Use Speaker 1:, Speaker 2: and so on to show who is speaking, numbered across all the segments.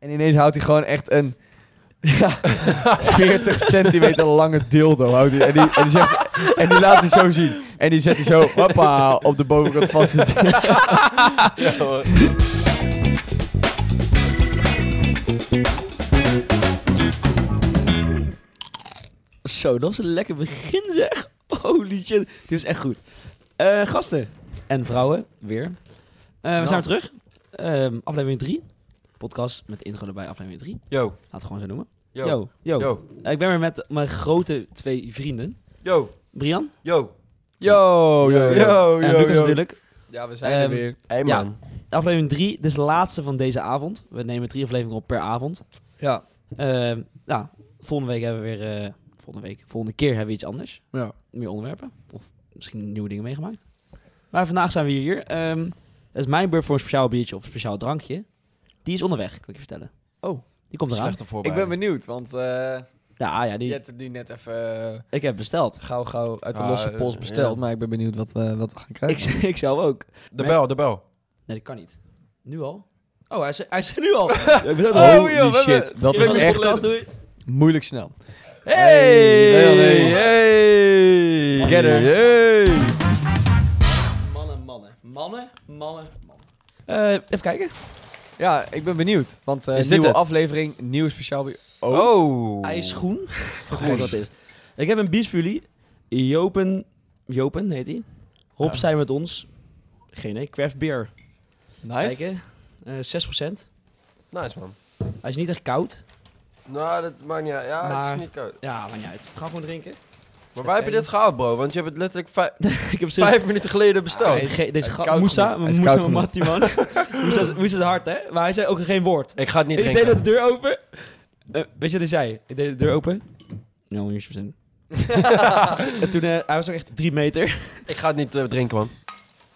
Speaker 1: En ineens houdt hij gewoon echt een ja, 40 centimeter lange dildo. Houdt hij, en, die, en, die zegt, en die laat hij zo zien. En die zet hij zo hoppa, op de bovenkant vast.
Speaker 2: Ja, hoor.
Speaker 3: Zo, dat was een lekker begin zeg. Holy shit. Dit was echt goed. Eh, gasten en vrouwen, weer. Eh,
Speaker 2: Nou.
Speaker 3: we zijn weer terug. Ehm, aflevering 3. Podcast met intro erbij, aflevering 3.
Speaker 2: Yo,
Speaker 3: Laat het gewoon zo noemen. Yo,
Speaker 2: yo,
Speaker 3: yo.
Speaker 2: yo,
Speaker 3: Eh, ik ben weer met mijn grote twee vrienden.
Speaker 2: yo,
Speaker 3: Brian
Speaker 2: yo,
Speaker 1: Yo, yo,
Speaker 2: Oh, yo,
Speaker 1: yo.
Speaker 2: yo,
Speaker 3: en Lucas natuurlijk.
Speaker 1: Ja, we
Speaker 3: zijn er Ehm, weer.
Speaker 2: Hey
Speaker 3: Ja.
Speaker 2: man.
Speaker 3: Aflevering 3, dit is de laatste van deze avond. We nemen drie afleveringen op per avond.
Speaker 1: Ja.
Speaker 3: Ehm, nou, volgende week hebben we weer. eh, volgende week. Volgende keer hebben we iets anders.
Speaker 1: Ja.
Speaker 3: Meer onderwerpen. Of misschien nieuwe dingen meegemaakt. Maar vandaag zijn we hier. Ehm, het is mijn beurt voor een speciaal biertje of een speciaal drankje. Die is onderweg, kan ik je vertellen.
Speaker 1: Oh.
Speaker 3: Die komt eraan.
Speaker 4: Slechte
Speaker 1: Ik
Speaker 4: voorbereiding.
Speaker 1: ben benieuwd, want eh,
Speaker 3: Ja, ja die,
Speaker 1: je hebt het nu net even eh,
Speaker 3: ik heb besteld.
Speaker 1: gauw, gauw uit de
Speaker 4: Ah,
Speaker 1: losse
Speaker 4: eh,
Speaker 1: pols besteld.
Speaker 4: ja.
Speaker 1: Maar ik ben benieuwd wat we, wat we gaan
Speaker 3: Ik,
Speaker 1: krijgen.
Speaker 3: ik zelf ook.
Speaker 4: De bel, de bel.
Speaker 3: Nee, dat kan niet. Nu al? Oh, hij is, hij is er nu al. Ja, ik bedoel,
Speaker 1: Oh,
Speaker 3: oh,
Speaker 1: joh, we hebben-
Speaker 2: shit.
Speaker 1: Dat
Speaker 3: dit
Speaker 1: is
Speaker 3: was de
Speaker 1: echt
Speaker 3: podcast, doei.
Speaker 1: moeilijk snel.
Speaker 2: Hey, hey,
Speaker 1: hey.
Speaker 3: Get her.
Speaker 2: Hey.
Speaker 3: Mannen, mannen. Mannen, mannen, mannen. Eh, even kijken.
Speaker 1: Ja, ik ben benieuwd. Want eh
Speaker 2: Is dit
Speaker 1: nieuwe
Speaker 2: het?
Speaker 1: aflevering, nieuw speciaal... bier.
Speaker 2: Oh.
Speaker 3: Hij is groen. Goed, dat is. Ik heb een bies voor jullie. Jopen, Jopen heet hij. Hop
Speaker 1: Ja.
Speaker 3: zijn met ons. Geen nee, craft beer.
Speaker 1: Nice.
Speaker 3: Kijken. Eh, 6%.
Speaker 2: Nice man.
Speaker 3: Hij is niet echt koud.
Speaker 2: Nou, dat maakt niet uit. Ja, het
Speaker 3: Maar-
Speaker 2: is niet koud.
Speaker 3: Ja, maar niet uit. Ga gewoon drinken.
Speaker 2: Maar wij hebben dit gehaald, bro. Want je hebt het letterlijk vij-
Speaker 3: Ik heb sinds...
Speaker 2: vijf minuten geleden
Speaker 3: Ah,
Speaker 2: besteld.
Speaker 3: hij is ge- deze
Speaker 1: is
Speaker 3: gast,
Speaker 1: koud
Speaker 3: Moussa,
Speaker 1: genoeg. Hij is
Speaker 3: Moussa
Speaker 1: koud
Speaker 3: mijn mattie man. Moussa is- Moussa is hard hè, maar hij zei ook geen woord.
Speaker 2: Ik ga het niet
Speaker 3: Ik deed
Speaker 2: drinken.
Speaker 3: dat de deur open. Eh, weet je wat hij zei? Ik deed de deur open. Nou, hier is je zin. En toen, eh, hij was ook echt drie meter.
Speaker 2: Ik ga het niet eh, drinken, man.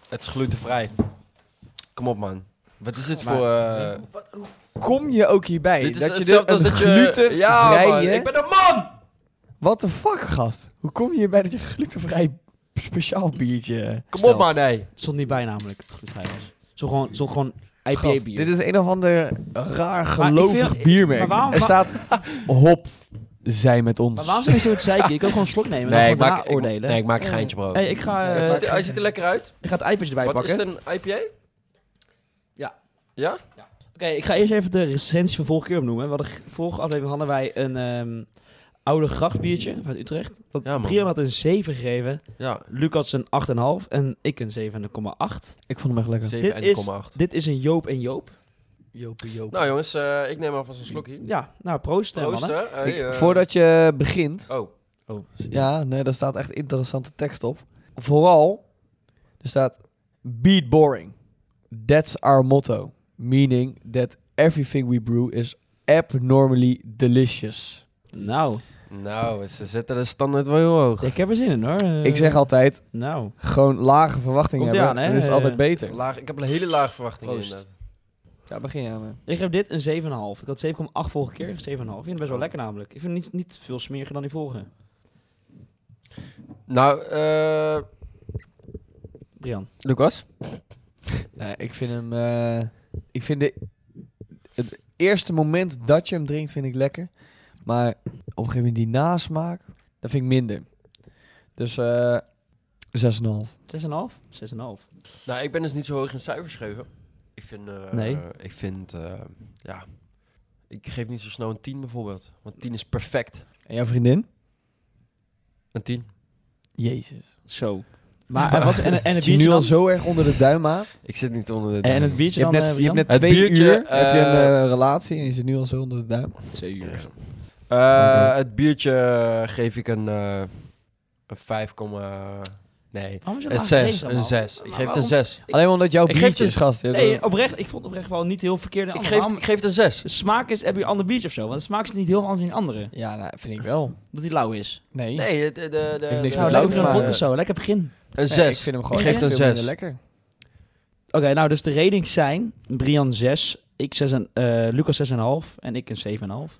Speaker 2: Het is glutenvrij. Kom op, man. Wat is dit
Speaker 1: Maar-
Speaker 2: voor... eh,
Speaker 1: Kom je ook hierbij?
Speaker 2: dit is
Speaker 1: dat je dit
Speaker 2: hetzelfde als
Speaker 1: een
Speaker 2: dat je... Ja, man.
Speaker 1: glutenvrije...
Speaker 2: Ik ben een man!
Speaker 1: What the fuck, gast? Hoe kom je hierbij dat je glutenvrij speciaal biertje...
Speaker 2: Kom
Speaker 3: Stelt.
Speaker 2: op, man, nee.
Speaker 3: Het stond niet bij namelijk, het goed vrij was. Zo gewoon, zo gewoon
Speaker 1: Gast,
Speaker 3: IPA-bier.
Speaker 1: Dit is een of ander raar gelovig
Speaker 3: ik vind-
Speaker 1: biermerk.
Speaker 3: maar waarom-
Speaker 1: er staat hop, zij met ons.
Speaker 3: Maar waarom zou je zo het zeiken? Je kan gewoon een slok nemen en dan gewoon daarna oordelen.
Speaker 2: nee, ik maak een geintje, bro.
Speaker 3: hey, ik ga, eh,
Speaker 2: Hij
Speaker 1: dat
Speaker 2: ziet er- hij ziet er lekker uit.
Speaker 3: ik ga het iPadje erbij
Speaker 2: Wat is
Speaker 3: pakken.
Speaker 2: het,
Speaker 3: Oké,
Speaker 2: een IPA?
Speaker 3: Ja.
Speaker 2: Ja?
Speaker 3: ik ga eerst even de recensie van vorige keer opnoemen. We hadden g- vorige aflevering hadden wij een ehm, oude grachtbiertje uit Utrecht. Dat
Speaker 2: Ja, man.
Speaker 3: Brian had een 7 gegeven,
Speaker 2: Ja,
Speaker 3: Luc had een 8,5 en ik een 7,8.
Speaker 1: Ik vond hem echt lekker.
Speaker 2: 7,8.
Speaker 3: Dit is een Joop en Joop.
Speaker 1: Jopie, Jopie.
Speaker 2: Nou jongens, eh, ik neem alvast een slokje.
Speaker 3: Ja, nou proost, eh,
Speaker 2: Proost,
Speaker 3: mannen.
Speaker 2: hè. Hey, eh.
Speaker 1: Voordat je begint...
Speaker 2: Oh,
Speaker 1: Ja, nee, daar staat echt interessante tekst op. Vooral, er staat... Beat boring. That's our motto. Meaning that everything we brew is abnormally delicious.
Speaker 3: Nou,
Speaker 2: nou, ze zetten de standaard wel heel hoog.
Speaker 3: ik heb er zin in hoor. Eh,
Speaker 1: Ik zeg altijd,
Speaker 3: Nou,
Speaker 1: gewoon lage verwachtingen
Speaker 3: Komt ie
Speaker 1: hebben.
Speaker 3: aan, hè?
Speaker 1: Dat is altijd beter.
Speaker 2: Laag, ik heb een hele laag verwachting
Speaker 1: Proost.
Speaker 2: in.
Speaker 1: Ja, begin je aan. hè.
Speaker 3: ik geef dit een 7,5. Ik had 7,8 vorige keer, 7,5. Ik vind het best wel lekker namelijk. Ik vind het niet, niet veel smeriger dan die vorige.
Speaker 2: Nou, eh
Speaker 3: Brian.
Speaker 2: Lucas?
Speaker 1: Nee, ik vind hem... eh, ik vind de, het eerste moment dat je hem drinkt, vind ik lekker. Maar op een gegeven moment die nasmaak, dat vind ik minder. Dus eh 6,5.
Speaker 3: 6,5? 6,5.
Speaker 2: Nou, ik ben dus niet zo hoog in cijfers gegeven. Ik vind... eh,
Speaker 3: Nee.
Speaker 2: Ik vind, eh, ja... Ik geef niet zo snel een 10 bijvoorbeeld. Want 10 is perfect.
Speaker 1: En jouw vriendin?
Speaker 2: Een 10.
Speaker 1: Jezus.
Speaker 3: Zo. Maar en, wat, en, en het
Speaker 1: Zit je nu
Speaker 3: biertje
Speaker 1: al
Speaker 3: dan?
Speaker 1: zo erg onder de duim aan?
Speaker 2: Ik zit niet onder de...
Speaker 3: En het biertje
Speaker 1: Je hebt
Speaker 3: dan, eh,
Speaker 1: net, je hebt net
Speaker 3: Brian?
Speaker 2: Het
Speaker 1: twee
Speaker 2: biertje,
Speaker 1: uur heb je een
Speaker 2: eh,
Speaker 1: eh, relatie en je zit nu al zo onder de duim.
Speaker 3: Twee uur.
Speaker 2: Eh,
Speaker 1: Oké.
Speaker 2: Het biertje eh, geef ik een, eh een 5, nee,
Speaker 3: Waarom is het
Speaker 2: een
Speaker 3: laag
Speaker 2: 6.
Speaker 3: gegeven dan,
Speaker 2: Een
Speaker 3: man?
Speaker 2: 6. Ik
Speaker 3: Maar
Speaker 2: geef het een
Speaker 3: waarom?
Speaker 2: 6.
Speaker 1: Alleen maar omdat jouw
Speaker 2: Ik geef
Speaker 1: biertje
Speaker 2: je-
Speaker 1: is gast. hè?
Speaker 3: Nee, oprecht. Ik vond oprecht wel niet heel verkeerd.
Speaker 2: Ik geef, ik geef het een 6.
Speaker 3: de smaak is, heb je een ander biertje of zo? Want de smaak is niet heel anders dan die andere.
Speaker 1: ja, nou, vind ik wel.
Speaker 3: Dat die lauw is.
Speaker 1: Nee.
Speaker 2: Nee, het- de, de, de,
Speaker 1: Heeft niks
Speaker 2: de-
Speaker 1: met lauw
Speaker 3: nou, lekker
Speaker 1: te
Speaker 3: een
Speaker 1: maken.
Speaker 3: rot of zo. Lekker begin.
Speaker 2: Een
Speaker 1: Nee,
Speaker 2: 6.
Speaker 1: ik vind hem gewoon
Speaker 2: Ik geef
Speaker 1: echt
Speaker 2: het een
Speaker 1: veel minder
Speaker 2: zes.
Speaker 1: lekker.
Speaker 3: Oké, nou dus de ratings zijn Brian 6, ik 6 en, eh, Lucas 6,5 en ik een 7,5.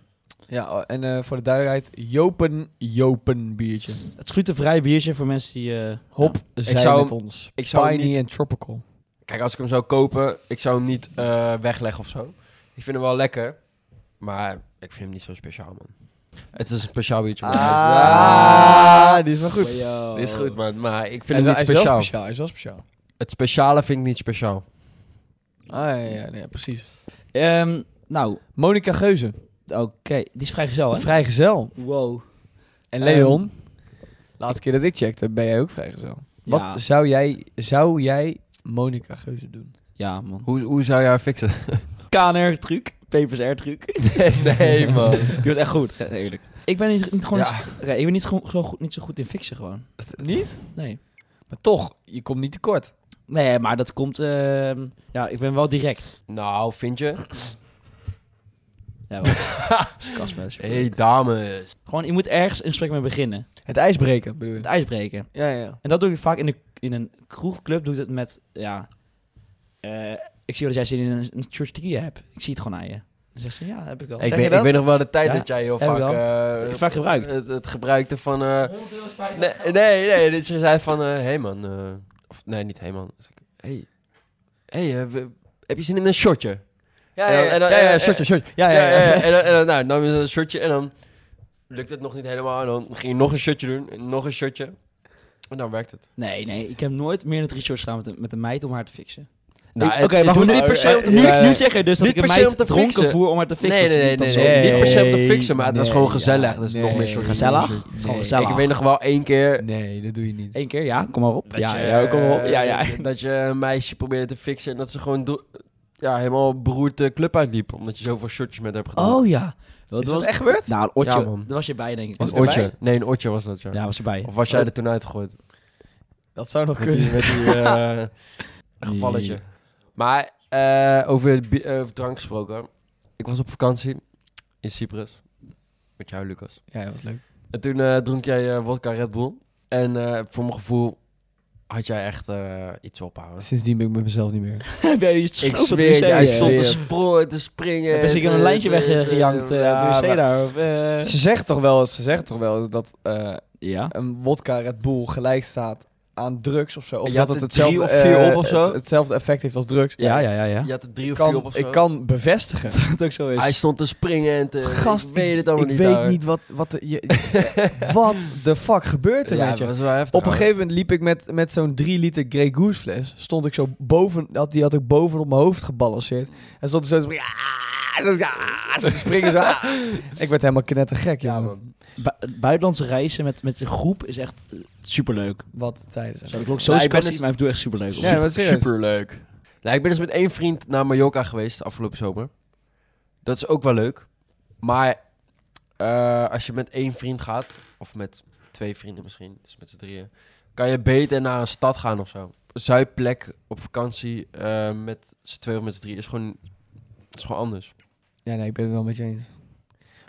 Speaker 1: Ja, oh, en eh, voor de duidelijkheid, Jopen, Jopen biertje.
Speaker 3: Het glutenvrij biertje voor mensen die... eh,
Speaker 1: Hop,
Speaker 3: ja.
Speaker 1: zij
Speaker 2: zou
Speaker 1: met
Speaker 2: hem-
Speaker 1: ons.
Speaker 2: ik zou hem
Speaker 1: Piney
Speaker 2: niet,
Speaker 1: en tropical.
Speaker 2: kijk, als ik hem zou kopen, ik zou hem niet eh, wegleggen of zo. Ik vind hem wel lekker. Maar ik vind hem niet zo speciaal, man. Het is een speciaal biertje.
Speaker 1: Ah,
Speaker 2: maar hij is-
Speaker 1: die is wel goed.
Speaker 3: Wow.
Speaker 2: Die Ah. is goed, man. Maar
Speaker 1: Hij
Speaker 2: ik vind hem
Speaker 1: is
Speaker 2: niet
Speaker 1: wel- Hij
Speaker 2: speciaal.
Speaker 1: is wel speciaal. Hij is wel speciaal.
Speaker 2: Het speciale vind ik niet speciaal.
Speaker 1: Ah, ja, ja, ja, precies.
Speaker 3: Ehm, nou,
Speaker 1: Monica Geuze,
Speaker 3: oké. Die is vrijgezel, hè?
Speaker 1: vrijgezel.
Speaker 3: Wow.
Speaker 1: En
Speaker 3: Ehm,
Speaker 1: Leon, laatste keer dat ik checkte, ben jij ook vrijgezel. Wat
Speaker 3: Ja.
Speaker 1: zou jij, zou jij Monica Geuze doen?
Speaker 3: Ja, man.
Speaker 2: Hoe, hoe zou jij haar fixen?
Speaker 3: KNR-truc. PPSR-truc.
Speaker 2: nee, man.
Speaker 3: Die was echt goed, eh, eerlijk. Ik ben niet, niet gewoon...
Speaker 2: Ja.
Speaker 3: eens- ik ben niet, gewoon, zo goed, niet zo goed in fixen, gewoon.
Speaker 1: Niet?
Speaker 3: Nee.
Speaker 1: Maar toch, je komt niet tekort.
Speaker 3: Nee, maar dat komt... ehm, ja, ik ben wel direct.
Speaker 2: Nou, vind je?
Speaker 3: Ja, wel. Dat is een kastmes.
Speaker 2: hey, dames.
Speaker 3: Gewoon, je moet ergens een gesprek mee beginnen.
Speaker 1: Het ijsbreken bedoel je?
Speaker 3: Het ijsbreken.
Speaker 1: Ja, ja.
Speaker 3: En dat doe ik vaak in, de, in een kroegclub. Doe ik dat met, ja... eh, ik zie wel dat jij zin in een, een tortilla hebt. Ik zie het gewoon aan je. Dan zegt ze, ja, heb ik wel.
Speaker 2: Ik
Speaker 1: Zeg je
Speaker 2: weet,
Speaker 1: dat?
Speaker 2: ik weet nog wel de tijd
Speaker 3: Ja,
Speaker 2: dat jij heel
Speaker 3: heb ik
Speaker 2: vaak...
Speaker 3: wel.
Speaker 2: eh,
Speaker 3: Vaak gebruikt.
Speaker 2: Het, het gebruikte van... eh, nee, nee, nee. dit- Ze zei van... eh, hey, man. eh, of, nee, niet hey, man. Dus ik, Hey. Hey, eh, we- heb je zin in een shotje?
Speaker 1: Ja,
Speaker 2: En
Speaker 1: ja,
Speaker 2: dan-
Speaker 1: ja,
Speaker 2: en dan-
Speaker 1: ja,
Speaker 2: en-
Speaker 1: ja,
Speaker 2: en-
Speaker 1: shotje, shotje. Ja, ja, ja.
Speaker 2: En dan, en dan nou, nam je een shotje en dan lukte het nog niet helemaal. En dan ging je nog een shotje doen. En nog een shotje. En dan werkt het.
Speaker 3: Nee, nee. Ik heb nooit meer dan drie shorts gedaan met een, met een meid om haar te fixen.
Speaker 2: Nou,
Speaker 3: Ik-
Speaker 2: het- het
Speaker 3: goed,
Speaker 2: hoeft
Speaker 3: nu-
Speaker 2: niet per se om te
Speaker 3: nu,
Speaker 2: fixen.
Speaker 3: nu zeg je dus dat
Speaker 2: Niet
Speaker 3: ik een
Speaker 2: per se
Speaker 3: meid
Speaker 2: om te
Speaker 3: dronken
Speaker 2: fixen.
Speaker 3: voer om haar te fixen.
Speaker 2: Nee,
Speaker 3: Dat is
Speaker 2: nee,
Speaker 3: niet- dat is
Speaker 2: nee, nee,
Speaker 3: zo-
Speaker 2: niet per se om te
Speaker 1: nee,
Speaker 2: fixen, maar het was
Speaker 1: nee,
Speaker 2: gewoon
Speaker 1: ja,
Speaker 2: gezellig. Dat is nog meer soort-
Speaker 3: Gezellig?
Speaker 1: Nee,
Speaker 3: Het is gewoon
Speaker 2: Ik
Speaker 1: eh,
Speaker 3: gezellig.
Speaker 2: weet nog wel één keer
Speaker 1: Nee, dat doe je niet.
Speaker 3: Eén keer, ja, kom maar op.
Speaker 2: dat
Speaker 3: Ja,
Speaker 2: je, eh,
Speaker 3: ja, kom maar op. Ja, ja.
Speaker 2: Dat je een meisje probeerde te fixen en dat ze gewoon do- ja, helemaal beroerd de club uitliep. Omdat je zovoveel shotjes met haar hebt gedaan.
Speaker 3: Oh ja. Dat
Speaker 1: Is dat echt gebeurd?
Speaker 3: Nou, een otje.
Speaker 2: Ja, man.
Speaker 3: dat was je bij, denk ik.
Speaker 1: Was
Speaker 2: een
Speaker 1: het erbij?
Speaker 2: otje. Nee, een otje was dat, ja.
Speaker 3: Ja, Oh. was erbij.
Speaker 2: Of was jij er toen uitgegooid?
Speaker 1: Dat zou nog
Speaker 2: Met die,
Speaker 1: kunnen.
Speaker 2: met die eh, gevalletje. Maar eh, over bi- eh, over drank gesproken. Ik was op vakantie in Cyprus. Met jou, Lucas.
Speaker 1: Ja, dat was leuk.
Speaker 2: En toen eh, dronk jij eh vodka Red Bull. En eh, voor mijn gevoel had jij echt eh, iets ophouden.
Speaker 1: Sindsdien ben ik met mezelf niet meer.
Speaker 3: Heb jij iets
Speaker 2: Ik
Speaker 3: over
Speaker 2: zweer, het,
Speaker 3: de wc?
Speaker 2: jij
Speaker 1: ja,
Speaker 2: stond
Speaker 1: ja.
Speaker 2: te, spro- te springen.
Speaker 3: Heb je zeker een lijntje weggejankt eh,
Speaker 2: Ja,
Speaker 3: op de wc
Speaker 2: maar-
Speaker 3: daar? Of, eh,
Speaker 1: Ze zegt toch wel, ze zegt toch wel dat eh,
Speaker 3: ja.
Speaker 1: een wodka Red Bull gelijk staat aan drugs of zo. Of
Speaker 2: Je
Speaker 1: dat
Speaker 2: had
Speaker 1: het
Speaker 2: er
Speaker 1: hetzelfde,
Speaker 2: drie of vier
Speaker 1: eh,
Speaker 2: op of zo?
Speaker 1: het- hetzelfde effect heeft als drugs.
Speaker 3: Ja, ja, ja, ja.
Speaker 2: Je had er drie
Speaker 1: Ik
Speaker 2: of vier op
Speaker 1: kan,
Speaker 2: of zo.
Speaker 1: ik kan bevestigen.
Speaker 3: Dat het ook zo is.
Speaker 2: Hij stond te springen en te...
Speaker 1: Dus- Gast,
Speaker 2: ik weet het allemaal
Speaker 1: ik
Speaker 2: niet.
Speaker 1: weet
Speaker 2: ouwe.
Speaker 1: niet wat, wat, de, je, wat de fuck gebeurt er
Speaker 2: Ja,
Speaker 1: met je.
Speaker 2: dat was wel heftig.
Speaker 1: Op een
Speaker 2: ouwe.
Speaker 1: gegeven moment liep ik met, met zo'n 3 liter Grey Goose fles. Stond ik zo boven, had, die had ik boven op mijn hoofd gebalanceerd. En stond er zo te springen. Ja, zo- ja, zo te springen zo. ah. Ik werd helemaal knettergek,
Speaker 2: Ja,
Speaker 1: jongen.
Speaker 2: man.
Speaker 3: Bu- buitenlandse reizen met, met je groep is echt eh, superleuk.
Speaker 1: Wat een tijden zijn.
Speaker 3: Zou ik ook
Speaker 2: Nou,
Speaker 3: zo
Speaker 2: ik ben
Speaker 3: spassie,
Speaker 2: dus-
Speaker 3: maar ik doe echt superleuk.
Speaker 1: Ja, maar serieus.
Speaker 2: Superleuk. Nou, ik ben dus met één vriend naar Mallorca geweest afgelopen zomer. Dat is ook wel leuk. Maar eh, als je met één vriend gaat, of met twee vrienden misschien, dus met z'n drieën, kan je beter naar een stad gaan of zo. Een zuidplek op vakantie eh, met z'n twee of met z'n drieën is gewoon, is gewoon anders.
Speaker 1: Ja, nee, ik ben het wel met je eens.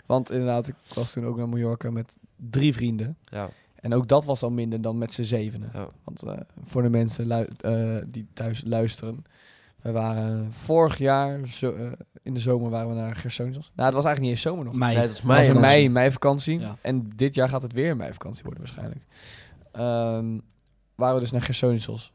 Speaker 1: Want inderdaad, ik was toen ook naar Mallorca met drie vrienden.
Speaker 2: Ja.
Speaker 1: En ook dat was al minder dan met z'n zevenen.
Speaker 2: Ja.
Speaker 1: Want eh, voor de mensen lui- eh, die thuis luisteren. We waren vorig jaar, zo, eh, in de zomer waren we naar Gersonisos. Nou, het was eigenlijk niet eens zomer nog.
Speaker 3: Mei.
Speaker 2: Nee, dat is
Speaker 1: was in
Speaker 2: mei.
Speaker 1: mei, meivakantie.
Speaker 3: Ja.
Speaker 1: En dit jaar gaat het weer een meivakantie worden waarschijnlijk. Ehm, waren we dus naar Gersonisos.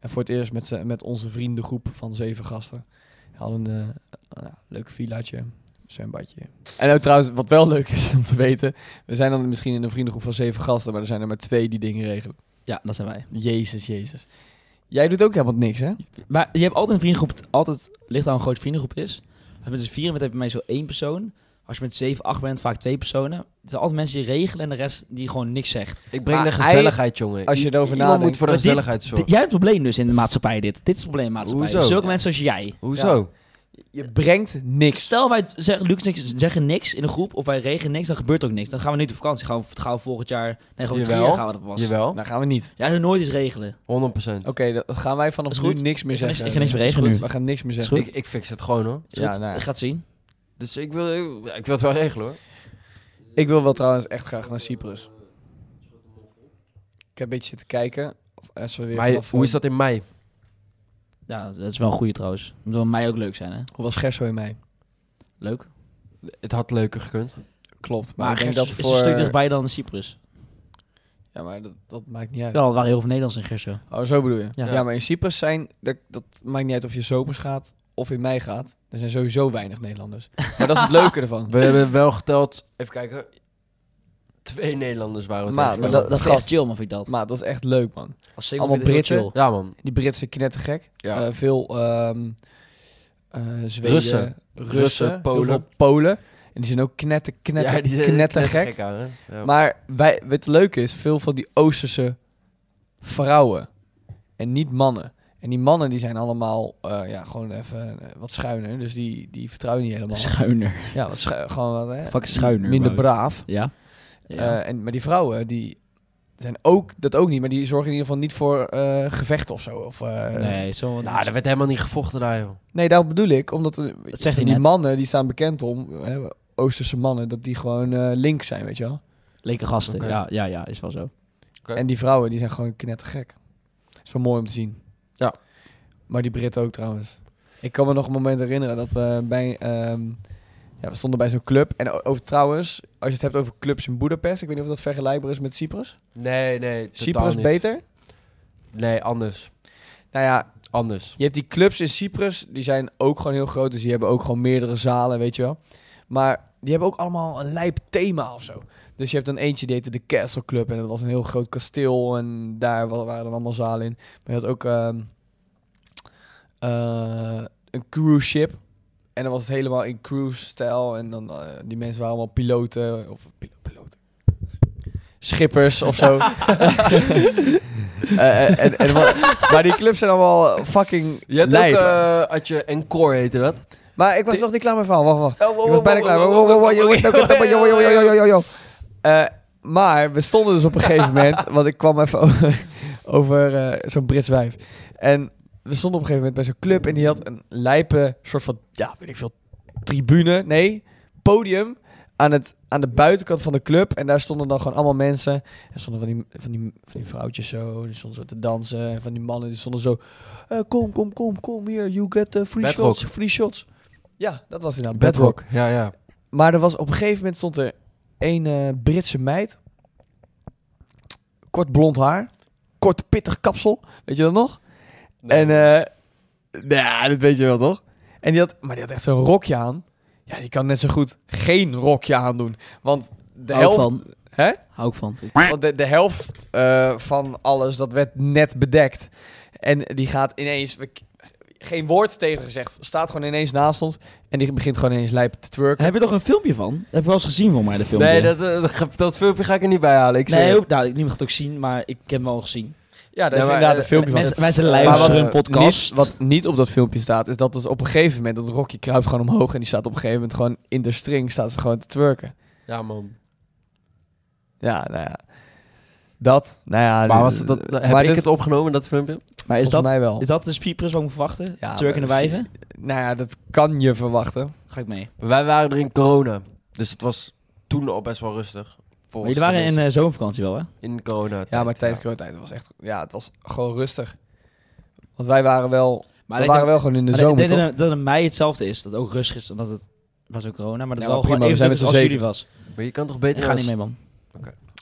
Speaker 1: En voor het eerst met, z'n- met onze vriendengroep van zeven gasten. We hadden een eh, nou, leuk villaatje, zwembadje. En ook trouwens, wat wel leuk is om te weten. We zijn dan misschien in een vriendengroep van zeven gasten, maar er zijn er maar twee die dingen regelen.
Speaker 3: Ja, dat zijn wij.
Speaker 1: Jezus, jezus. Jij doet ook helemaal niks, hè?
Speaker 3: Maar je hebt altijd een vriendengroep, het altijd ligt aan hoe groot je vriendengroep is. Als je met z'n vieren bent, heb je bij mij zo één persoon. Als je met zeven, acht bent, vaak twee personen. Er zijn altijd mensen die regelen en de rest die gewoon niks zegt.
Speaker 2: Ik breng
Speaker 1: Maar
Speaker 2: de gezelligheid, jongen.
Speaker 1: Als je
Speaker 2: I-
Speaker 1: erover
Speaker 2: Iemand
Speaker 1: nadenkt-
Speaker 2: moet voor de
Speaker 3: Maar dit-
Speaker 2: gezelligheid zorgen.
Speaker 3: Dit- jij hebt een probleem dus in de maatschappij dit. Dit is het probleem in de maatschappij.
Speaker 2: Hoezo?
Speaker 3: Zulke
Speaker 1: Ja.
Speaker 3: mensen als jij.
Speaker 2: Hoezo?
Speaker 1: Je brengt niks.
Speaker 3: Stel wij zeggen, Luc en ik zeggen niks in een groep of wij regelen niks, dan gebeurt ook niks. Dan gaan we niet op vakantie. Gaan we, gaan we volgend jaar, nee, gewoon drie
Speaker 2: Jawel.
Speaker 3: jaar gaan we dat pas.
Speaker 2: Jawel,
Speaker 1: Nou, gaan we niet.
Speaker 3: Jij zou nooit iets regelen.
Speaker 2: 100%.
Speaker 1: Oké, dan gaan wij vanaf
Speaker 3: Is
Speaker 1: nu
Speaker 3: goed.
Speaker 1: niks meer
Speaker 3: Ik ga niks-
Speaker 1: zeggen.
Speaker 3: ik ga niks meer
Speaker 1: Is
Speaker 3: regelen
Speaker 1: goed,
Speaker 3: nu.
Speaker 1: We gaan niks meer zeggen.
Speaker 3: goed.
Speaker 2: Ik, ik fix het gewoon hoor.
Speaker 3: Is goed?
Speaker 1: Ja, nou ja.
Speaker 3: Ik ga het zien.
Speaker 2: Dus ik wil, ik, ik wil het wel regelen hoor.
Speaker 1: Ik wil wel trouwens echt graag naar Cyprus. Ik heb een beetje zitten kijken. Of Als we weer
Speaker 2: Maar je-
Speaker 1: vanaf, eh,
Speaker 2: hoe is dat in mei?
Speaker 3: Ja, dat is wel een goeie trouwens. Moet wel mij ook leuk zijn, hè?
Speaker 1: Hoe was Gerso in mei?
Speaker 3: Leuk.
Speaker 2: Het had leuker gekund.
Speaker 1: Klopt. Maar,
Speaker 3: Maar,
Speaker 1: ik denk
Speaker 3: Gerso
Speaker 1: dat
Speaker 3: is
Speaker 1: voor...
Speaker 3: een stuk dichtbij dan Cyprus.
Speaker 1: Ja, maar dat, dat maakt niet uit.
Speaker 3: Ja, er waren heel veel Nederlands in Gerso.
Speaker 1: Oh, zo bedoel je. Ja,
Speaker 3: Ja.
Speaker 1: maar in Cyprus zijn... Dat, dat maakt niet uit of je zomers gaat of in mei gaat. Er zijn sowieso weinig Nederlanders. Maar dat is het leuke ervan.
Speaker 2: We hebben wel geteld, even kijken, twee Nederlanders waren we
Speaker 1: Maar-
Speaker 2: tegen.
Speaker 1: maar
Speaker 3: dat, dat is
Speaker 1: gast.
Speaker 3: echt chill, man, vind ik dat.
Speaker 1: Maar dat is echt leuk, man.
Speaker 3: Als
Speaker 1: allemaal
Speaker 3: vind ik dat heel
Speaker 1: Britten.
Speaker 2: Ja man,
Speaker 1: Die Britse knettergek.
Speaker 2: Ja.
Speaker 1: Eh, veel ehm, eh, Zweden.
Speaker 2: Russen.
Speaker 1: Russen.
Speaker 2: Russen,
Speaker 1: heel
Speaker 2: Polen.
Speaker 1: veel Polen. En die zijn ook knetter, knetter,
Speaker 2: ja, die
Speaker 1: knettergek.
Speaker 2: aan, hè? Ja.
Speaker 1: Maar wij, wat leuk is, veel van die Oosterse vrouwen. En niet mannen. En die mannen die zijn allemaal eh, ja, gewoon even eh, wat schuiner. Dus die, die vertrouwen niet helemaal.
Speaker 3: Schuiner.
Speaker 1: Ja, wat schu- gewoon wat, hè,
Speaker 3: Fucking schuiner.
Speaker 1: Eh, minder
Speaker 3: überhaupt.
Speaker 1: braaf.
Speaker 3: Ja. ja.
Speaker 1: Eh, en, maar die vrouwen, die zijn ook, dat ook niet. Maar die zorgen in ieder geval niet voor eh gevecht of zo. Of, eh,
Speaker 3: nee, zo.
Speaker 2: Nou, er werd helemaal niet gevochten daar joh.
Speaker 1: Nee, dat bedoel ik. Omdat eh,
Speaker 3: zegt hij
Speaker 1: die
Speaker 3: net.
Speaker 1: mannen, die staan bekend om, hè, Oosterse mannen, dat die gewoon eh, link zijn, weet je wel.
Speaker 3: Leke gasten.
Speaker 2: Oké.
Speaker 3: Ja, ja, ja, is wel zo.
Speaker 2: Oké.
Speaker 1: En die vrouwen, die zijn gewoon knettergek. is wel mooi om te zien.
Speaker 2: Ja.
Speaker 1: Maar die Britten ook trouwens. Ik kan me nog een moment herinneren dat we bij... ehm, ja, we stonden bij zo'n club. En o- over, trouwens, als je het hebt over clubs in Boedapest... Ik weet niet of dat vergelijkbaar is met Cyprus.
Speaker 2: Nee, nee, totaal
Speaker 1: Cyprus
Speaker 2: niet.
Speaker 1: beter?
Speaker 2: Nee, anders.
Speaker 1: Nou ja,
Speaker 2: Anders.
Speaker 1: je hebt die clubs in Cyprus. Die zijn ook gewoon heel groot. Dus die hebben ook gewoon meerdere zalen, weet je wel. Maar die hebben ook allemaal een lijp thema of zo. Dus je hebt dan eentje, die heette de Castle Club. En dat was een heel groot kasteel. En daar wa- waren dan allemaal zalen in. Maar je had ook ehm, eh, een cruise ship. En dan was het helemaal in cruise-stijl. En dan, eh, die mensen waren allemaal piloten. Of pil- piloten. Schippers of zo. Eh, en, en, wa- maar die clubs zijn allemaal fucking
Speaker 2: Je hebt
Speaker 1: lijp.
Speaker 2: ook, eh, had je Encore heette dat.
Speaker 1: maar ik was
Speaker 2: Ti-
Speaker 1: nog niet klaar met mijn verhaal. Wacht, wacht.
Speaker 2: Oh, wow,
Speaker 1: Ik was bijna
Speaker 2: wow,
Speaker 1: klaar.
Speaker 2: wow,
Speaker 1: Wow, wow, wow,
Speaker 2: wow,
Speaker 1: yo,
Speaker 2: wow,
Speaker 1: yo, yo, yo, yo, yo, yo, yo, yo. Eh, Maar we stonden dus op een gegeven moment... Want ik kwam even over, over eh, zo'n Brits wijf. En we stonden op een gegeven moment bij zo'n club... En die had een lijpe soort van... Ja, weet ik veel. Tribune. Nee, podium. Aan, het, aan de buitenkant van de club. En daar stonden dan gewoon allemaal mensen. En stonden van die, van die, van die vrouwtjes zo. Die stonden zo te dansen. En van die mannen die stonden zo... eh, kom, kom, kom, kom hier. You get the free
Speaker 2: Bedrock.
Speaker 1: shots. Free shots. Ja, dat was inderdaad Bedrock.
Speaker 2: Bedrock. Ja, ja.
Speaker 1: Maar er was op een gegeven moment stond er een eh, Britse meid. Kort blond haar. Kort pittig kapsel. Weet je dat nog? En, eh nou, ja, dat weet je wel toch? En die had, maar die had echt zo'n rokje aan. Ja, die kan net zo goed geen rokje aandoen. Want de
Speaker 3: Hou ik
Speaker 1: helft,
Speaker 3: van.
Speaker 1: Hè?
Speaker 3: Hou ik van.
Speaker 1: want de, de helft eh, van alles, dat werd net bedekt. En die gaat ineens, we- geen woord tegen gezegd, staat gewoon ineens naast ons. En die begint gewoon ineens lijp te twerken.
Speaker 3: Heb je toch een filmpje van? Dat heb ik wel eens gezien van mij, de filmpje.
Speaker 2: nee, dat, eh, dat, ge- dat filmpje ga ik er niet bij halen. Ik
Speaker 3: Nee,
Speaker 2: zweer.
Speaker 3: ook, nou, niemand gaat het ook zien, maar ik heb hem al gezien.
Speaker 1: Ja, daar
Speaker 2: Ja,
Speaker 1: is
Speaker 2: maar,
Speaker 1: inderdaad
Speaker 2: eh,
Speaker 1: een filmpje van.
Speaker 3: Mensen, wij zijn
Speaker 2: Maar
Speaker 3: luisteren
Speaker 2: wat,
Speaker 3: een podcast.
Speaker 1: Niet, wat niet op dat filmpje staat, is dat het op een gegeven moment dat rokje kruipt gewoon omhoog en die staat op een gegeven moment gewoon in de string, staat ze gewoon te twerken.
Speaker 2: Ja, man.
Speaker 1: Ja, nou ja. Dat, nou ja.
Speaker 2: Maar
Speaker 1: d-
Speaker 2: was dat,
Speaker 1: d-
Speaker 2: heb
Speaker 1: maar
Speaker 2: eh, ik
Speaker 1: dus-
Speaker 2: het opgenomen, dat filmpje?
Speaker 3: maar is
Speaker 1: volgens
Speaker 3: dat,
Speaker 1: mij wel.
Speaker 3: is dat de Cyprus wat ik moet verwachten?
Speaker 1: Ja,
Speaker 3: Turken en
Speaker 1: maar-
Speaker 3: wijven?
Speaker 1: Nou ja, dat kan je verwachten.
Speaker 3: Ga ik mee.
Speaker 2: Wij waren er in corona. Dus het was toen al best wel rustig.
Speaker 3: Maar
Speaker 2: volgens
Speaker 3: jullie waren
Speaker 2: de
Speaker 3: in
Speaker 2: mensen.
Speaker 3: eh, zomervakantie wel, hè?
Speaker 2: in corona.
Speaker 1: Ja, maar tijdens coronatijd was echt, ja, het was gewoon rustig. Want wij waren wel,
Speaker 3: Maar
Speaker 1: we
Speaker 3: ik denk-
Speaker 1: waren wel gewoon in de
Speaker 3: maar
Speaker 1: zomer,
Speaker 3: Ik denk
Speaker 1: toch?
Speaker 3: dat, dat het in mei hetzelfde is. Dat het ook rustig is, omdat het was ook corona. Maar dat
Speaker 1: Ja,
Speaker 3: het wel
Speaker 1: maar prima,
Speaker 3: gewoon even
Speaker 1: we zijn met
Speaker 3: druk is
Speaker 1: z'n
Speaker 3: als
Speaker 1: zeven.
Speaker 3: jullie was.
Speaker 2: Maar je kan toch beter...
Speaker 3: Ik ga
Speaker 2: als-
Speaker 3: niet mee, man.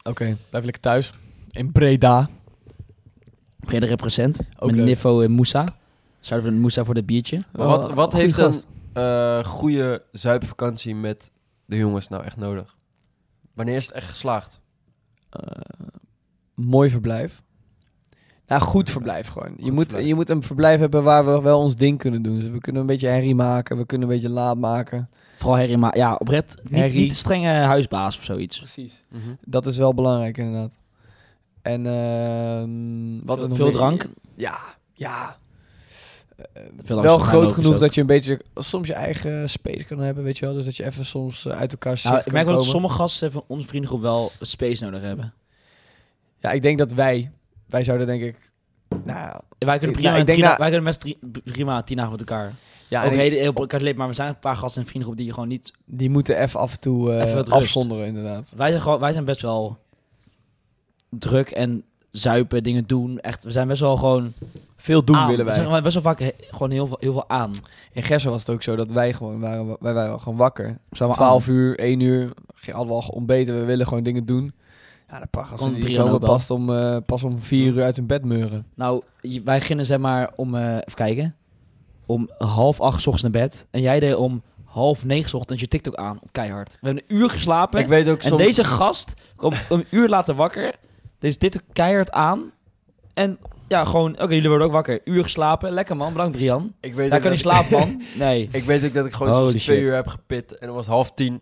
Speaker 1: Oké, blijf lekker thuis. In Breda.
Speaker 3: Brede represent.
Speaker 1: Ook
Speaker 3: met
Speaker 1: leuk.
Speaker 3: Niffo en Moussa. Zouden we Moussa voor dat biertje?
Speaker 2: Maar wat,
Speaker 1: Oh,
Speaker 2: wat
Speaker 1: goeie
Speaker 2: heeft
Speaker 1: gast.
Speaker 2: een eh goede zuipvakantie met de jongens nou echt nodig? Wanneer is het echt geslaagd?
Speaker 1: eh, mooi verblijf. Nou, goed verblijf gewoon. je,
Speaker 2: Goed
Speaker 1: moet,
Speaker 2: verblijf.
Speaker 1: je moet een verblijf hebben waar we wel ons ding kunnen doen. Dus we kunnen een beetje herrie maken, we kunnen een beetje laat maken.
Speaker 3: Vooral Harry, maar ja, oprecht. Niet,
Speaker 1: Herrie.
Speaker 3: niet de strenge huisbaas of zoiets.
Speaker 1: Precies.
Speaker 2: Mhm.
Speaker 1: Dat is wel belangrijk inderdaad. En ehm wat is nog
Speaker 3: veel
Speaker 1: meer?
Speaker 3: drank.
Speaker 1: Ja, ja. Eh,
Speaker 3: Veel
Speaker 1: wel
Speaker 3: Amsterdam
Speaker 1: groot
Speaker 3: logisch
Speaker 1: genoeg
Speaker 3: ook.
Speaker 1: dat je een beetje soms je eigen space kan hebben, weet je wel. Dus dat je even soms eh, uit elkaar ziet.
Speaker 3: Nou, ik merk wel dat sommige gasten van onze vriendengroep wel space nodig hebben.
Speaker 1: Ja, ik denk dat wij, wij zouden denk ik, nou
Speaker 3: En Wij kunnen,
Speaker 1: Ik-
Speaker 3: prima
Speaker 1: nou, ik denk
Speaker 3: een drie-
Speaker 1: dat-
Speaker 3: wij kunnen best drie, prima tien dagen met elkaar.
Speaker 1: ja,
Speaker 3: ook
Speaker 1: en ik-
Speaker 3: heel, heel elkaar leed, maar we zijn een paar gasten in een vriendengroep die je gewoon niet...
Speaker 1: die moeten even af en toe eh,
Speaker 3: Even wat rust.
Speaker 1: afzonderen inderdaad.
Speaker 3: Wij zijn, gewoon, wij zijn best wel druk en zuipen, dingen doen. Echt, we zijn best wel gewoon
Speaker 1: Veel doen
Speaker 3: aan.
Speaker 1: willen
Speaker 3: We zijn
Speaker 1: wij.
Speaker 3: gewoon best wel vaak he- gewoon heel veel, heel veel aan.
Speaker 1: In Gerso was het ook zo dat wij gewoon waren, wij waren gewoon wakker.
Speaker 3: We zijn wel aan.
Speaker 1: 12 uur, 1 uur, ge- hadden we al ontbeten, we willen gewoon dingen doen. Ja, de
Speaker 3: Kon
Speaker 1: pagassen die
Speaker 3: Brian
Speaker 1: komen
Speaker 3: ook wel.
Speaker 1: pas om, eh, pas om 4 uur uit hun bed meuren.
Speaker 3: Nou, je- wij beginnen zeg maar om... eh, even kijken. om half acht 's ochtends naar bed. En jij deed om half negen 's ochtends je TikTok aan, keihard. We hebben een uur geslapen.
Speaker 2: Ik weet ook
Speaker 3: en
Speaker 2: soms...
Speaker 3: deze gast komt een uur later wakker. Deze TikTok keihard aan. En ja, gewoon, oké, jullie worden ook wakker. Uur geslapen. Lekker man, bedankt Brian.
Speaker 2: Ik weet
Speaker 3: Hij kan
Speaker 2: ook dat-
Speaker 3: niet slapen, man. Nee.
Speaker 2: Ik weet ook dat ik gewoon
Speaker 3: Holy
Speaker 2: soms twee
Speaker 3: shit.
Speaker 2: uur heb gepit en dan was half tien.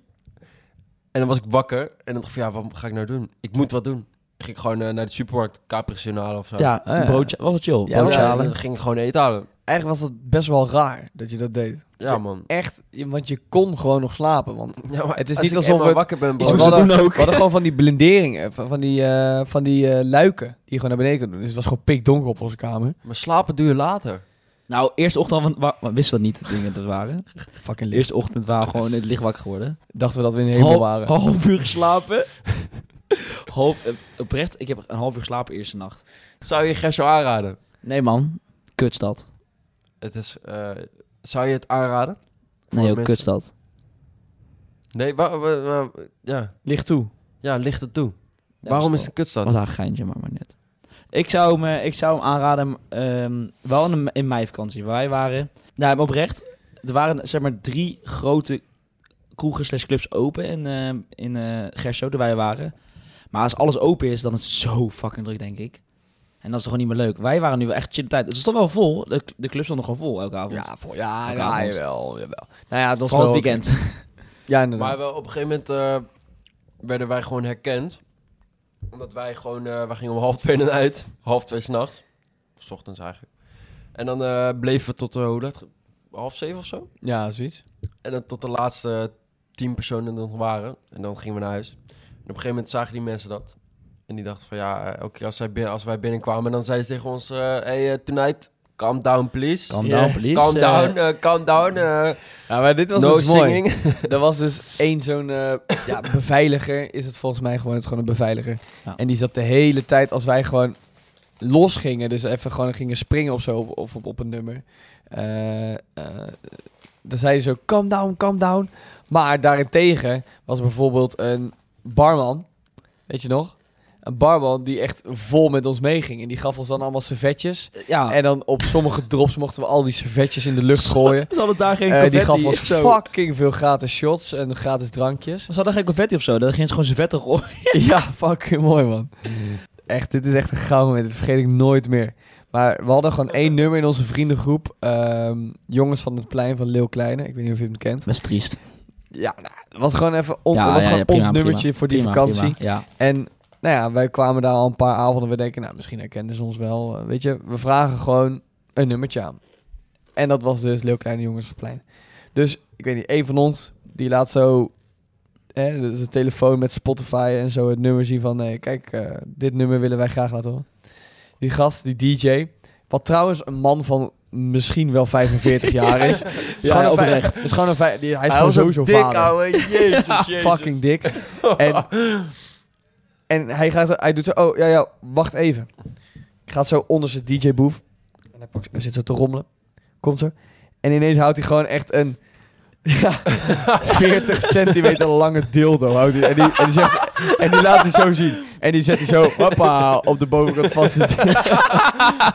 Speaker 2: En dan was ik wakker en dan dacht ik van ja, wat ga ik nou doen? Ik moet wat doen. Ik ging gewoon eh, naar de supermarkt, Capri halen of zo.
Speaker 3: Ja,
Speaker 1: Ah, ja.
Speaker 3: een broodje. Was het chill.
Speaker 1: Ja,
Speaker 3: broodje
Speaker 1: ja.
Speaker 3: halen.
Speaker 2: En dan eh, ging ik gewoon eten halen.
Speaker 1: Eigenlijk was het best wel raar dat je dat deed.
Speaker 2: Ja, man.
Speaker 1: Echt, je- want je kon gewoon nog slapen. Want
Speaker 2: Ja, maar
Speaker 1: Het is
Speaker 2: als
Speaker 1: niet
Speaker 2: ik
Speaker 1: alsof
Speaker 2: eenmaal
Speaker 1: het-
Speaker 2: wakker ben,
Speaker 1: we
Speaker 3: Iets moesten
Speaker 1: hadden-
Speaker 3: doen ook.
Speaker 1: we hadden gewoon van die blinderingen, van, van die, eh, van die eh, luiken die je gewoon naar beneden kon doen. Dus het was gewoon pikdonker op onze kamer.
Speaker 2: Maar slapen doe je later.
Speaker 3: Nou, eerste ochtend wa- wa- wa- wisten we dat niet, de dingen dat het waren.
Speaker 1: Fucking licht.
Speaker 3: Eerste ochtend waren we gewoon in het licht wakker geworden.
Speaker 1: Dachten we dat we in de hemel
Speaker 3: Half-
Speaker 1: waren.
Speaker 3: Half uur geslapen. half, eh, oprecht, ik heb een half uur geslapen eerste nacht.
Speaker 2: Zou je Gerso aanraden?
Speaker 3: Nee man, kutstad.
Speaker 2: Het is, eh, zou je het aanraden?
Speaker 3: Nee ook
Speaker 2: mensen.
Speaker 3: kutstad.
Speaker 2: Nee, wa- wa- wa- ja.
Speaker 1: Licht toe.
Speaker 2: ja, ligt het toe.
Speaker 3: Ja,
Speaker 2: Waarom
Speaker 3: dat
Speaker 2: is het een kutstad?
Speaker 3: Dat was eigenlijk een geintje, maar, maar net. Ik zou hem, eh, ik zou hem aanraden, ehm, wel in, de me- in mei vakantie. Wij waren, nou maar oprecht, er waren zeg maar drie grote kroegen slash clubs open in, ehm, in eh Gerso, waar wij waren. Maar als alles open is, dan is het zo fucking druk, denk ik. En dat is toch gewoon niet meer leuk. Wij waren nu wel echt chill tijd. Het stond wel vol, de, de club stond nog gewoon vol elke avond.
Speaker 1: Ja, vol, ja,
Speaker 3: Elke
Speaker 1: ja,
Speaker 3: avond.
Speaker 1: jawel, jawel. Nou ja, dat was
Speaker 3: Vooral het
Speaker 1: wel-
Speaker 3: weekend.
Speaker 1: Ja, inderdaad.
Speaker 2: Maar wel, op een gegeven moment eh, werden wij gewoon herkend. Omdat wij gewoon, eh, wij gingen om half twee naar uit. Half twee s'nachts. S ochtends eigenlijk. En dan eh, bleven we tot, eh, hoe laat? Half zeven of zo.
Speaker 1: Ja, zoiets.
Speaker 2: En dan tot de laatste tien personen er nog waren. En dan gingen we naar huis. En op een gegeven moment zagen die mensen dat. En die dachten van ja, eh, elke keer als, zij bin- als wij binnenkwamen, dan zeiden ze tegen ons... eh, hey, eh, tonight, calm down please.
Speaker 3: Calm
Speaker 1: Yes.
Speaker 3: down, please.
Speaker 2: Calm
Speaker 3: Eh,
Speaker 2: down, eh, calm down. eh,
Speaker 1: Ja, maar dit was
Speaker 2: no
Speaker 1: dus mooi.
Speaker 2: singing.
Speaker 1: Er was dus één zo'n eh, ja, beveiliger, is het volgens mij gewoon, het is gewoon een beveiliger.
Speaker 3: Ja.
Speaker 1: En die zat de hele tijd, als wij gewoon los gingen, dus even gewoon gingen springen of zo, of op, op een nummer. eh, eh, dan zei hij zo, calm down, calm down. Maar daarentegen was er bijvoorbeeld een barman, weet je nog? Een barman die echt vol met ons meeging. En die gaf ons dan allemaal servetjes.
Speaker 3: Ja,
Speaker 1: Eh, En dan op sommige drops mochten we al die servetjes in de lucht gooien.
Speaker 3: ze hadden daar
Speaker 1: Eh,
Speaker 3: geen confetti
Speaker 1: die gaf ons
Speaker 3: of zo.
Speaker 1: fucking veel gratis shots en gratis drankjes.
Speaker 3: Ze hadden geen confetti of zo, dan gingen ze gewoon servetten gooien.
Speaker 1: ja, fucking mooi man. Echt, dit is echt een gouden moment. Dit vergeet ik nooit meer. Maar we hadden gewoon één nummer in onze vriendengroep. ehm, jongens van het plein van Leeuw Kleine. Ik weet niet of je hem kent.
Speaker 3: Best triest.
Speaker 1: Ja, nou, het was gewoon even on-
Speaker 3: Ja,
Speaker 1: het
Speaker 3: ja,
Speaker 1: was gewoon
Speaker 3: ja, prima,
Speaker 1: ons nummertje
Speaker 3: prima.
Speaker 1: voor die
Speaker 3: Prima,
Speaker 1: vakantie.
Speaker 3: prima, Ja.
Speaker 1: En nou ja, wij kwamen daar al een paar avonden. We denken, nou, misschien herkennen ze ons wel. Eh, Weet je, we vragen gewoon een nummertje aan. En dat was dus Leeuw Kleine Jongens van het Plein. Dus, ik weet niet, één van ons, die laat zo... Hè, dat is een telefoon met Spotify en zo het nummer zien van... Nee, kijk, eh, dit nummer willen wij graag laten horen. Die gast, die DJ... Wat trouwens een man van misschien wel 45 jaar is. Ja,
Speaker 3: Ja,
Speaker 1: een vij-
Speaker 3: oprecht.
Speaker 1: is gewoon een vij- die- hij is gewoon sowieso
Speaker 2: dik,
Speaker 1: vader
Speaker 2: ouwe. Jezus, jezus.
Speaker 1: fucking dik. En, en hij, gaat zo, hij doet zo, oh ja, ja, wacht even. Gaat zo onder zijn DJ-boef. En hij, pakt, hij zit zo te rommelen. Komt zo. En ineens houdt hij gewoon echt een ja, 40 centimeter lange dildo. Houdt hij, en, die, en, die zegt, en die laat hij zo zien. En die zet hij zo, hoppa, op de bovenkant vast.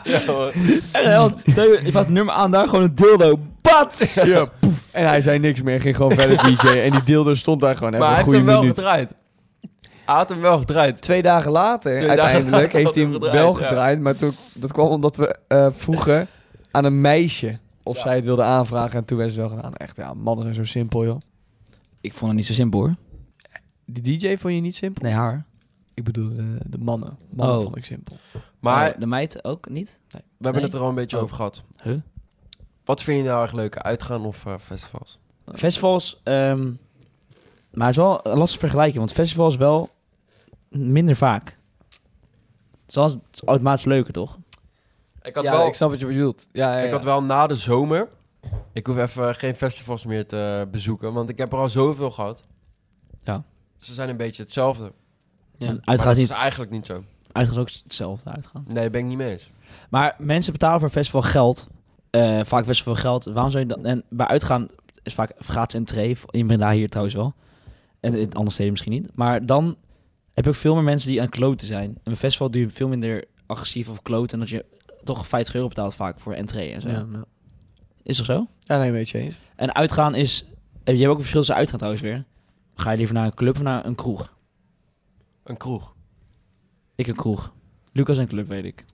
Speaker 2: Ja, hoor.
Speaker 3: En dan, stel je, je vraagt het nummer aan, daar gewoon een dildo. Bats!
Speaker 1: Ja, poef. En hij zei niks meer, ging gewoon verder DJ. En die dildo stond daar gewoon even
Speaker 2: Maar hij
Speaker 1: een
Speaker 2: heeft
Speaker 1: goede
Speaker 2: hem wel
Speaker 1: minuut.
Speaker 2: gedraaid. Hij had hem wel gedraaid.
Speaker 1: Twee dagen later,
Speaker 2: Twee dagen
Speaker 1: uiteindelijk,
Speaker 2: later
Speaker 1: heeft hij hem
Speaker 2: had hij
Speaker 1: wel
Speaker 2: gedraaid, ja.
Speaker 1: gedraaid. Maar toen, dat kwam omdat we eh, vroegen aan een meisje of
Speaker 2: Ja.
Speaker 1: zij het wilde aanvragen. En toen werd ze wel gedaan. Echt, ja, mannen zijn zo simpel, joh.
Speaker 3: Ik vond het niet zo simpel hoor.
Speaker 1: Die DJ vond je niet simpel?
Speaker 3: Nee, haar.
Speaker 1: Ik bedoel, de, de mannen. Mannen
Speaker 3: Oh.
Speaker 1: vond ik simpel.
Speaker 2: Maar
Speaker 3: Eh, de meid ook niet.
Speaker 2: we hebben
Speaker 3: nee.
Speaker 2: het er al een beetje
Speaker 3: Oh.
Speaker 2: over gehad.
Speaker 3: Huh?
Speaker 2: Wat vind je nou erg leuk? Uitgaan of eh, festivals?
Speaker 3: Festivals, ehm, maar het is wel lastig te vergelijken, want festivals wel minder vaak. Het is altijd- het is automatisch leuker, toch?
Speaker 2: Ik had,
Speaker 1: Ja,
Speaker 2: wel,
Speaker 1: ik
Speaker 2: ik,
Speaker 1: snap wat je bedoelt. Ja, ja, ja.
Speaker 2: had wel na de zomer... Ik hoef even geen festivals meer te eh, bezoeken, want ik heb er al zoveel gehad.
Speaker 3: Ja.
Speaker 2: Ze zijn een beetje hetzelfde.
Speaker 1: Ja.
Speaker 3: En
Speaker 2: Maar dat
Speaker 3: Uitgaat niet.
Speaker 2: is eigenlijk niet zo.
Speaker 3: Uitgaat ook hetzelfde uitgaan.
Speaker 2: Nee, ben ik niet mee eens.
Speaker 3: Maar mensen betalen voor festival geld. Eh, vaak best veel geld. Waarom zou je dan... En bij uitgaan is vaak gratis entree. In Breda hier trouwens wel. En in andere steden misschien niet. Maar dan heb ik veel meer mensen die aan kloten zijn. En een festival doe je veel minder agressief of kloten. En dat je toch 50 euro betaalt vaak voor entree en zo.
Speaker 1: Ja, ja.
Speaker 3: Is toch zo?
Speaker 1: Ja, nee, weet je eens.
Speaker 3: En uitgaan is... eh, Je hebt ook een verschil tussen uitgaan trouwens weer. Ga je liever naar een club of naar een kroeg?
Speaker 2: Een kroeg.
Speaker 3: Ik een kroeg. Lucas een club, weet ik.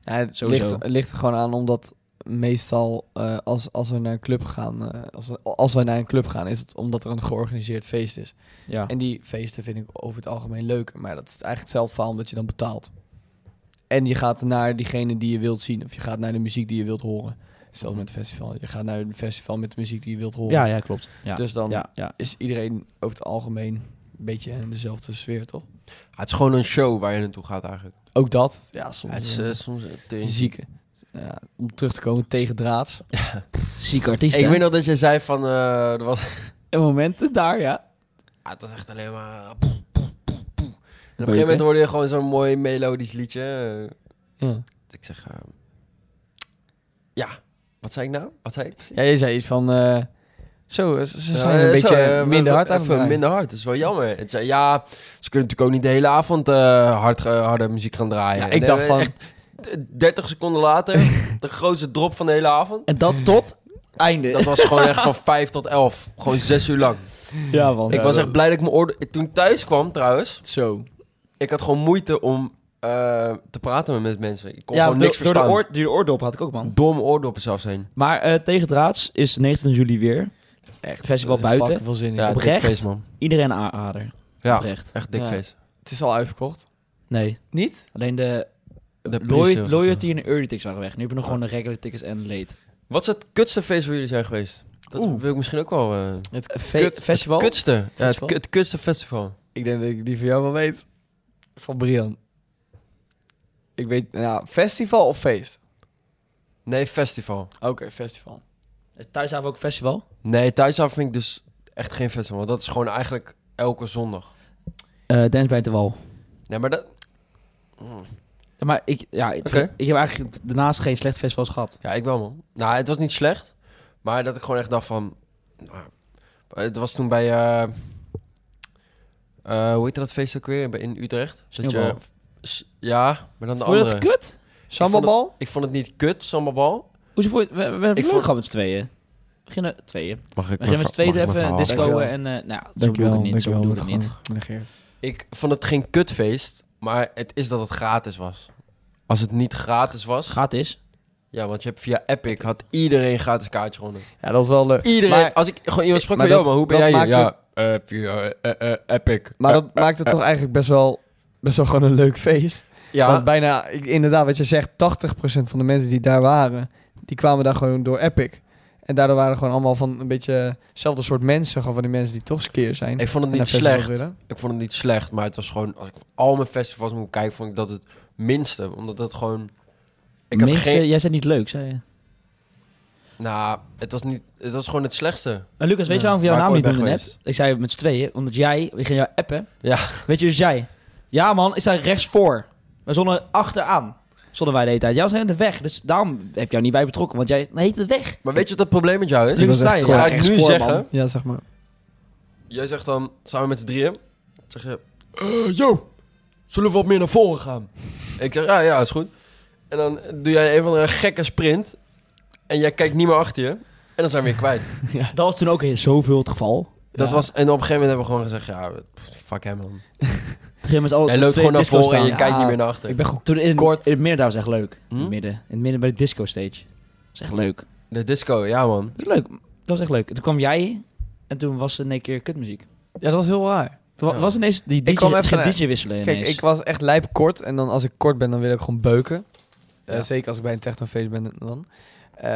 Speaker 1: Ja, het,
Speaker 3: Sowieso.
Speaker 1: ligt, het ligt er gewoon aan omdat meestal eh, als, als we naar een club gaan, eh, als, we, als wij naar een club gaan, is het omdat er een georganiseerd feest is.
Speaker 3: Ja.
Speaker 1: En die feesten vind ik over het algemeen leuker, maar dat is eigenlijk hetzelfde verhaal omdat je dan betaalt. En je gaat naar diegene die je wilt zien of je gaat naar de muziek die je wilt horen. Zelfs met het festival. Je gaat naar een festival met de muziek die je wilt horen.
Speaker 3: Ja, ja, klopt. Ja.
Speaker 1: Dus dan
Speaker 3: ja, ja.
Speaker 1: is iedereen over het algemeen een beetje in dezelfde sfeer, toch?
Speaker 2: Ah, het is gewoon een show waar je naartoe gaat eigenlijk.
Speaker 1: Ook dat. Ja,
Speaker 2: Ja,
Speaker 1: soms.
Speaker 2: het is
Speaker 1: eh,
Speaker 2: eh, soms een tering.
Speaker 1: zieke. Ja, om terug te komen tegen draads.
Speaker 3: Ziek artiest,
Speaker 2: Ik weet nog dat jij zei van... eh, er was,
Speaker 3: Een moment daar, ja.
Speaker 2: Ah, het was echt alleen maar... eh, poef, poef, poef, poef. En op een
Speaker 3: Beuken.
Speaker 2: gegeven moment hoorde je gewoon zo'n mooi melodisch liedje. eh,
Speaker 1: Ja.
Speaker 2: ik zeg... eh, ja, wat zei ik nou? Wat zei ik precies?
Speaker 1: ja, je zei iets van... eh, zo, ze ze
Speaker 2: Ja,
Speaker 1: zijn
Speaker 2: eh,
Speaker 1: een
Speaker 2: zo,
Speaker 1: beetje
Speaker 2: eh, we-
Speaker 1: minder
Speaker 2: we-
Speaker 1: hard aan het
Speaker 2: even
Speaker 1: draaien.
Speaker 2: minder hard, dat is wel jammer. En toen zei, ja, ze kunnen natuurlijk ook niet de hele avond eh, hard, ge- harde muziek gaan draaien.
Speaker 1: Ja,
Speaker 2: En
Speaker 1: ik dacht
Speaker 2: eh,
Speaker 1: van...
Speaker 2: echt 30 seconden later, de grootste drop van de hele avond.
Speaker 3: En dat tot einde.
Speaker 2: Dat was gewoon echt van 5 tot 11. Gewoon 6 uur lang.
Speaker 1: ja, man.
Speaker 2: ik was echt blij dat ik mijn oordeel... Toen ik thuis kwam trouwens,
Speaker 1: Zo.
Speaker 2: ik had gewoon moeite om eh, te praten met mensen. Ik kon
Speaker 3: ja,
Speaker 2: gewoon niks
Speaker 3: door, door
Speaker 2: verstaan.
Speaker 3: de oor, die oordop had ik ook, man.
Speaker 2: Door mijn oordoppen zelfs heen.
Speaker 3: Maar eh tegen Draads is 19 juli weer.
Speaker 1: Echt.
Speaker 3: Festival
Speaker 1: dat is
Speaker 3: buiten.
Speaker 1: fucking veel zin in.
Speaker 2: Ja,
Speaker 3: Oprecht?
Speaker 2: dik feest man.
Speaker 3: Iedereen aanrader.
Speaker 2: Ja,
Speaker 3: Oprecht.
Speaker 2: echt dik
Speaker 1: Ja.
Speaker 2: feest.
Speaker 1: Het is al uitverkocht.
Speaker 3: Nee.
Speaker 1: Niet?
Speaker 3: Alleen de,
Speaker 2: De
Speaker 3: loy-
Speaker 2: pre-sales.
Speaker 3: loyalty en early tickets waren weg. Nu heb je nog gewoon de regular tickets en late.
Speaker 2: Wat is het kutste feest waar jullie zijn geweest? Dat
Speaker 1: Oeh.
Speaker 2: wil ik misschien ook wel... eh,
Speaker 1: Het
Speaker 3: Een fe-
Speaker 1: kut.
Speaker 3: festival?
Speaker 2: Kutste. Ja, het,
Speaker 3: Festival?
Speaker 2: kut, het kutste festival.
Speaker 1: Ik denk dat ik die van jou wel weet. Van Brian. Ik weet... Nou, festival of feest?
Speaker 2: Nee, festival.
Speaker 1: Oké, festival.
Speaker 3: Eh, Thuis hebben we ook festival.
Speaker 2: Nee, thuisaf vind ik dus echt geen festival. want Dat is gewoon eigenlijk elke zondag.
Speaker 3: Eh Dance bij de Wal.
Speaker 2: Nee, maar dat...
Speaker 3: Ja, Maar ik, ja, ik,
Speaker 2: Oké.
Speaker 3: ik heb eigenlijk daarnaast geen slecht festivals gehad.
Speaker 2: Ja, ik wel, man. Nou, het was niet slecht. Maar dat ik gewoon echt dacht van... nou, het was toen bij... eh, eh, hoe heette dat feest ook weer? Bij- In Utrecht. Dat je,
Speaker 3: Sneeuwbal.
Speaker 2: s- ja, maar dan de
Speaker 3: Vond je dat
Speaker 2: andere.
Speaker 3: kut?
Speaker 1: Sambalbal?
Speaker 2: Ik vond het niet kut, sambalbal.
Speaker 3: Hoezo vond je, we, we hebben leuk
Speaker 2: vond-
Speaker 3: gehad met z'n tweeën. We beginnen tweeën.
Speaker 2: Mag
Speaker 3: We beginnen met z'n tweeën even discoen
Speaker 1: Dankjewel.
Speaker 3: en... eh nou, zo bedoel ik het niet. Zo bedoel ik het niet.
Speaker 2: Ik vond het geen kutfeest, maar het is dat het gratis was. Als het niet gratis was...
Speaker 3: Gratis.
Speaker 2: Ja, want je hebt via Epic had iedereen gratis kaartje gewonnen.
Speaker 1: Ja, dat is wel leuk.
Speaker 2: Iedereen.
Speaker 1: Maar-
Speaker 2: als ik gewoon iemand sprak
Speaker 1: Maar
Speaker 2: van, joh,
Speaker 1: dat-
Speaker 2: maar hoe ben
Speaker 1: dat
Speaker 2: jij hier?
Speaker 1: maakt
Speaker 2: Ja, eh, via eh, eh, Epic.
Speaker 1: Maar
Speaker 2: Eh,
Speaker 1: dat maakt het toch eigenlijk best wel... Best wel gewoon een leuk feest.
Speaker 2: ja,
Speaker 1: Want bijna, ik- inderdaad, wat je zegt, 80% van de mensen die daar waren, die kwamen daar gewoon door Epic. En daardoor waren er gewoon allemaal van een beetje hetzelfde soort mensen, gewoon van die mensen die toch skeer zijn.
Speaker 2: ik vond het
Speaker 1: En naar
Speaker 2: niet
Speaker 1: festivals
Speaker 2: slecht.
Speaker 1: willen.
Speaker 2: Ik vond het niet slecht, maar het was gewoon... Als ik al mijn festivals moet kijken, vond ik dat het minste. Omdat dat gewoon... Ik had
Speaker 3: Mensen,
Speaker 2: geen...
Speaker 3: jij zei niet leuk, zei je.
Speaker 2: Nou, het was, niet, het was gewoon het slechtste.
Speaker 3: Nou, Lucas, weet je
Speaker 1: Ja,
Speaker 3: waarom ik jouw
Speaker 2: waar ik
Speaker 3: naam niet
Speaker 2: ooit
Speaker 3: noemde
Speaker 2: ben
Speaker 3: net? Ik zei met z'n tweeën, omdat jij, we gingen jou appen.
Speaker 2: Ja.
Speaker 3: Weet je, dus jij. Ja man, ik sta rechts voor. We zonnen achteraan. Zonnen wij de hele tijd. Jij was helemaal de weg, dus daarom heb ik jou niet bij betrokken, want jij heet de weg.
Speaker 2: Maar weet je wat dat probleem met jou is?
Speaker 1: Ik was
Speaker 3: zei
Speaker 1: echt
Speaker 3: je.
Speaker 2: Dat
Speaker 1: kwaad.
Speaker 2: ga
Speaker 3: Ja,
Speaker 2: ik
Speaker 3: rechts
Speaker 2: nu
Speaker 3: voor,
Speaker 2: zeggen.
Speaker 3: man.
Speaker 1: Ja, zeg maar.
Speaker 2: Jij zegt dan, samen met z'n drieën... zeg je... eh, yo, zullen we wat meer naar voren gaan? ik zeg, ja, ja, is goed. En dan doe jij een van de gekke sprint. En jij kijkt niet meer achter je. En dan zijn we weer kwijt.
Speaker 3: Dat was toen ook in zoveel het geval.
Speaker 2: Dat
Speaker 1: Ja.
Speaker 2: was, en op een gegeven moment hebben we gewoon gezegd... Ja, pff, fuck hem, man.
Speaker 3: Toen gingen we met
Speaker 1: Oh,
Speaker 3: z'n allen
Speaker 2: Jij
Speaker 3: op de
Speaker 2: loopt
Speaker 3: tweede
Speaker 2: gewoon naar
Speaker 3: disco
Speaker 2: voren en je
Speaker 3: staan.
Speaker 2: kijkt niet
Speaker 1: Ja,
Speaker 2: meer naar achter.
Speaker 1: Ik ben goed.
Speaker 3: Toen in,
Speaker 1: Kort.
Speaker 3: in het midden, daar was echt leuk. In het
Speaker 2: Hm?
Speaker 3: midden. In het midden bij de disco stage. Dat is echt leuk.
Speaker 2: De disco, ja, man.
Speaker 3: Dat is leuk. Dat was echt leuk. En toen kwam jij en toen was er in één keer kutmuziek.
Speaker 1: Ja, dat was heel raar.
Speaker 3: Toen wa-
Speaker 2: Ja.
Speaker 3: was ineens die DJ,
Speaker 1: Ik kwam even- eh,
Speaker 3: ging DJ wisselen ineens.
Speaker 1: Kijk, ik was echt lijp kort en dan als ik kort ben, dan wil ik gewoon beuken. Eh,
Speaker 2: Ja.
Speaker 1: Zeker als ik bij een technofeest ben dan. Eh,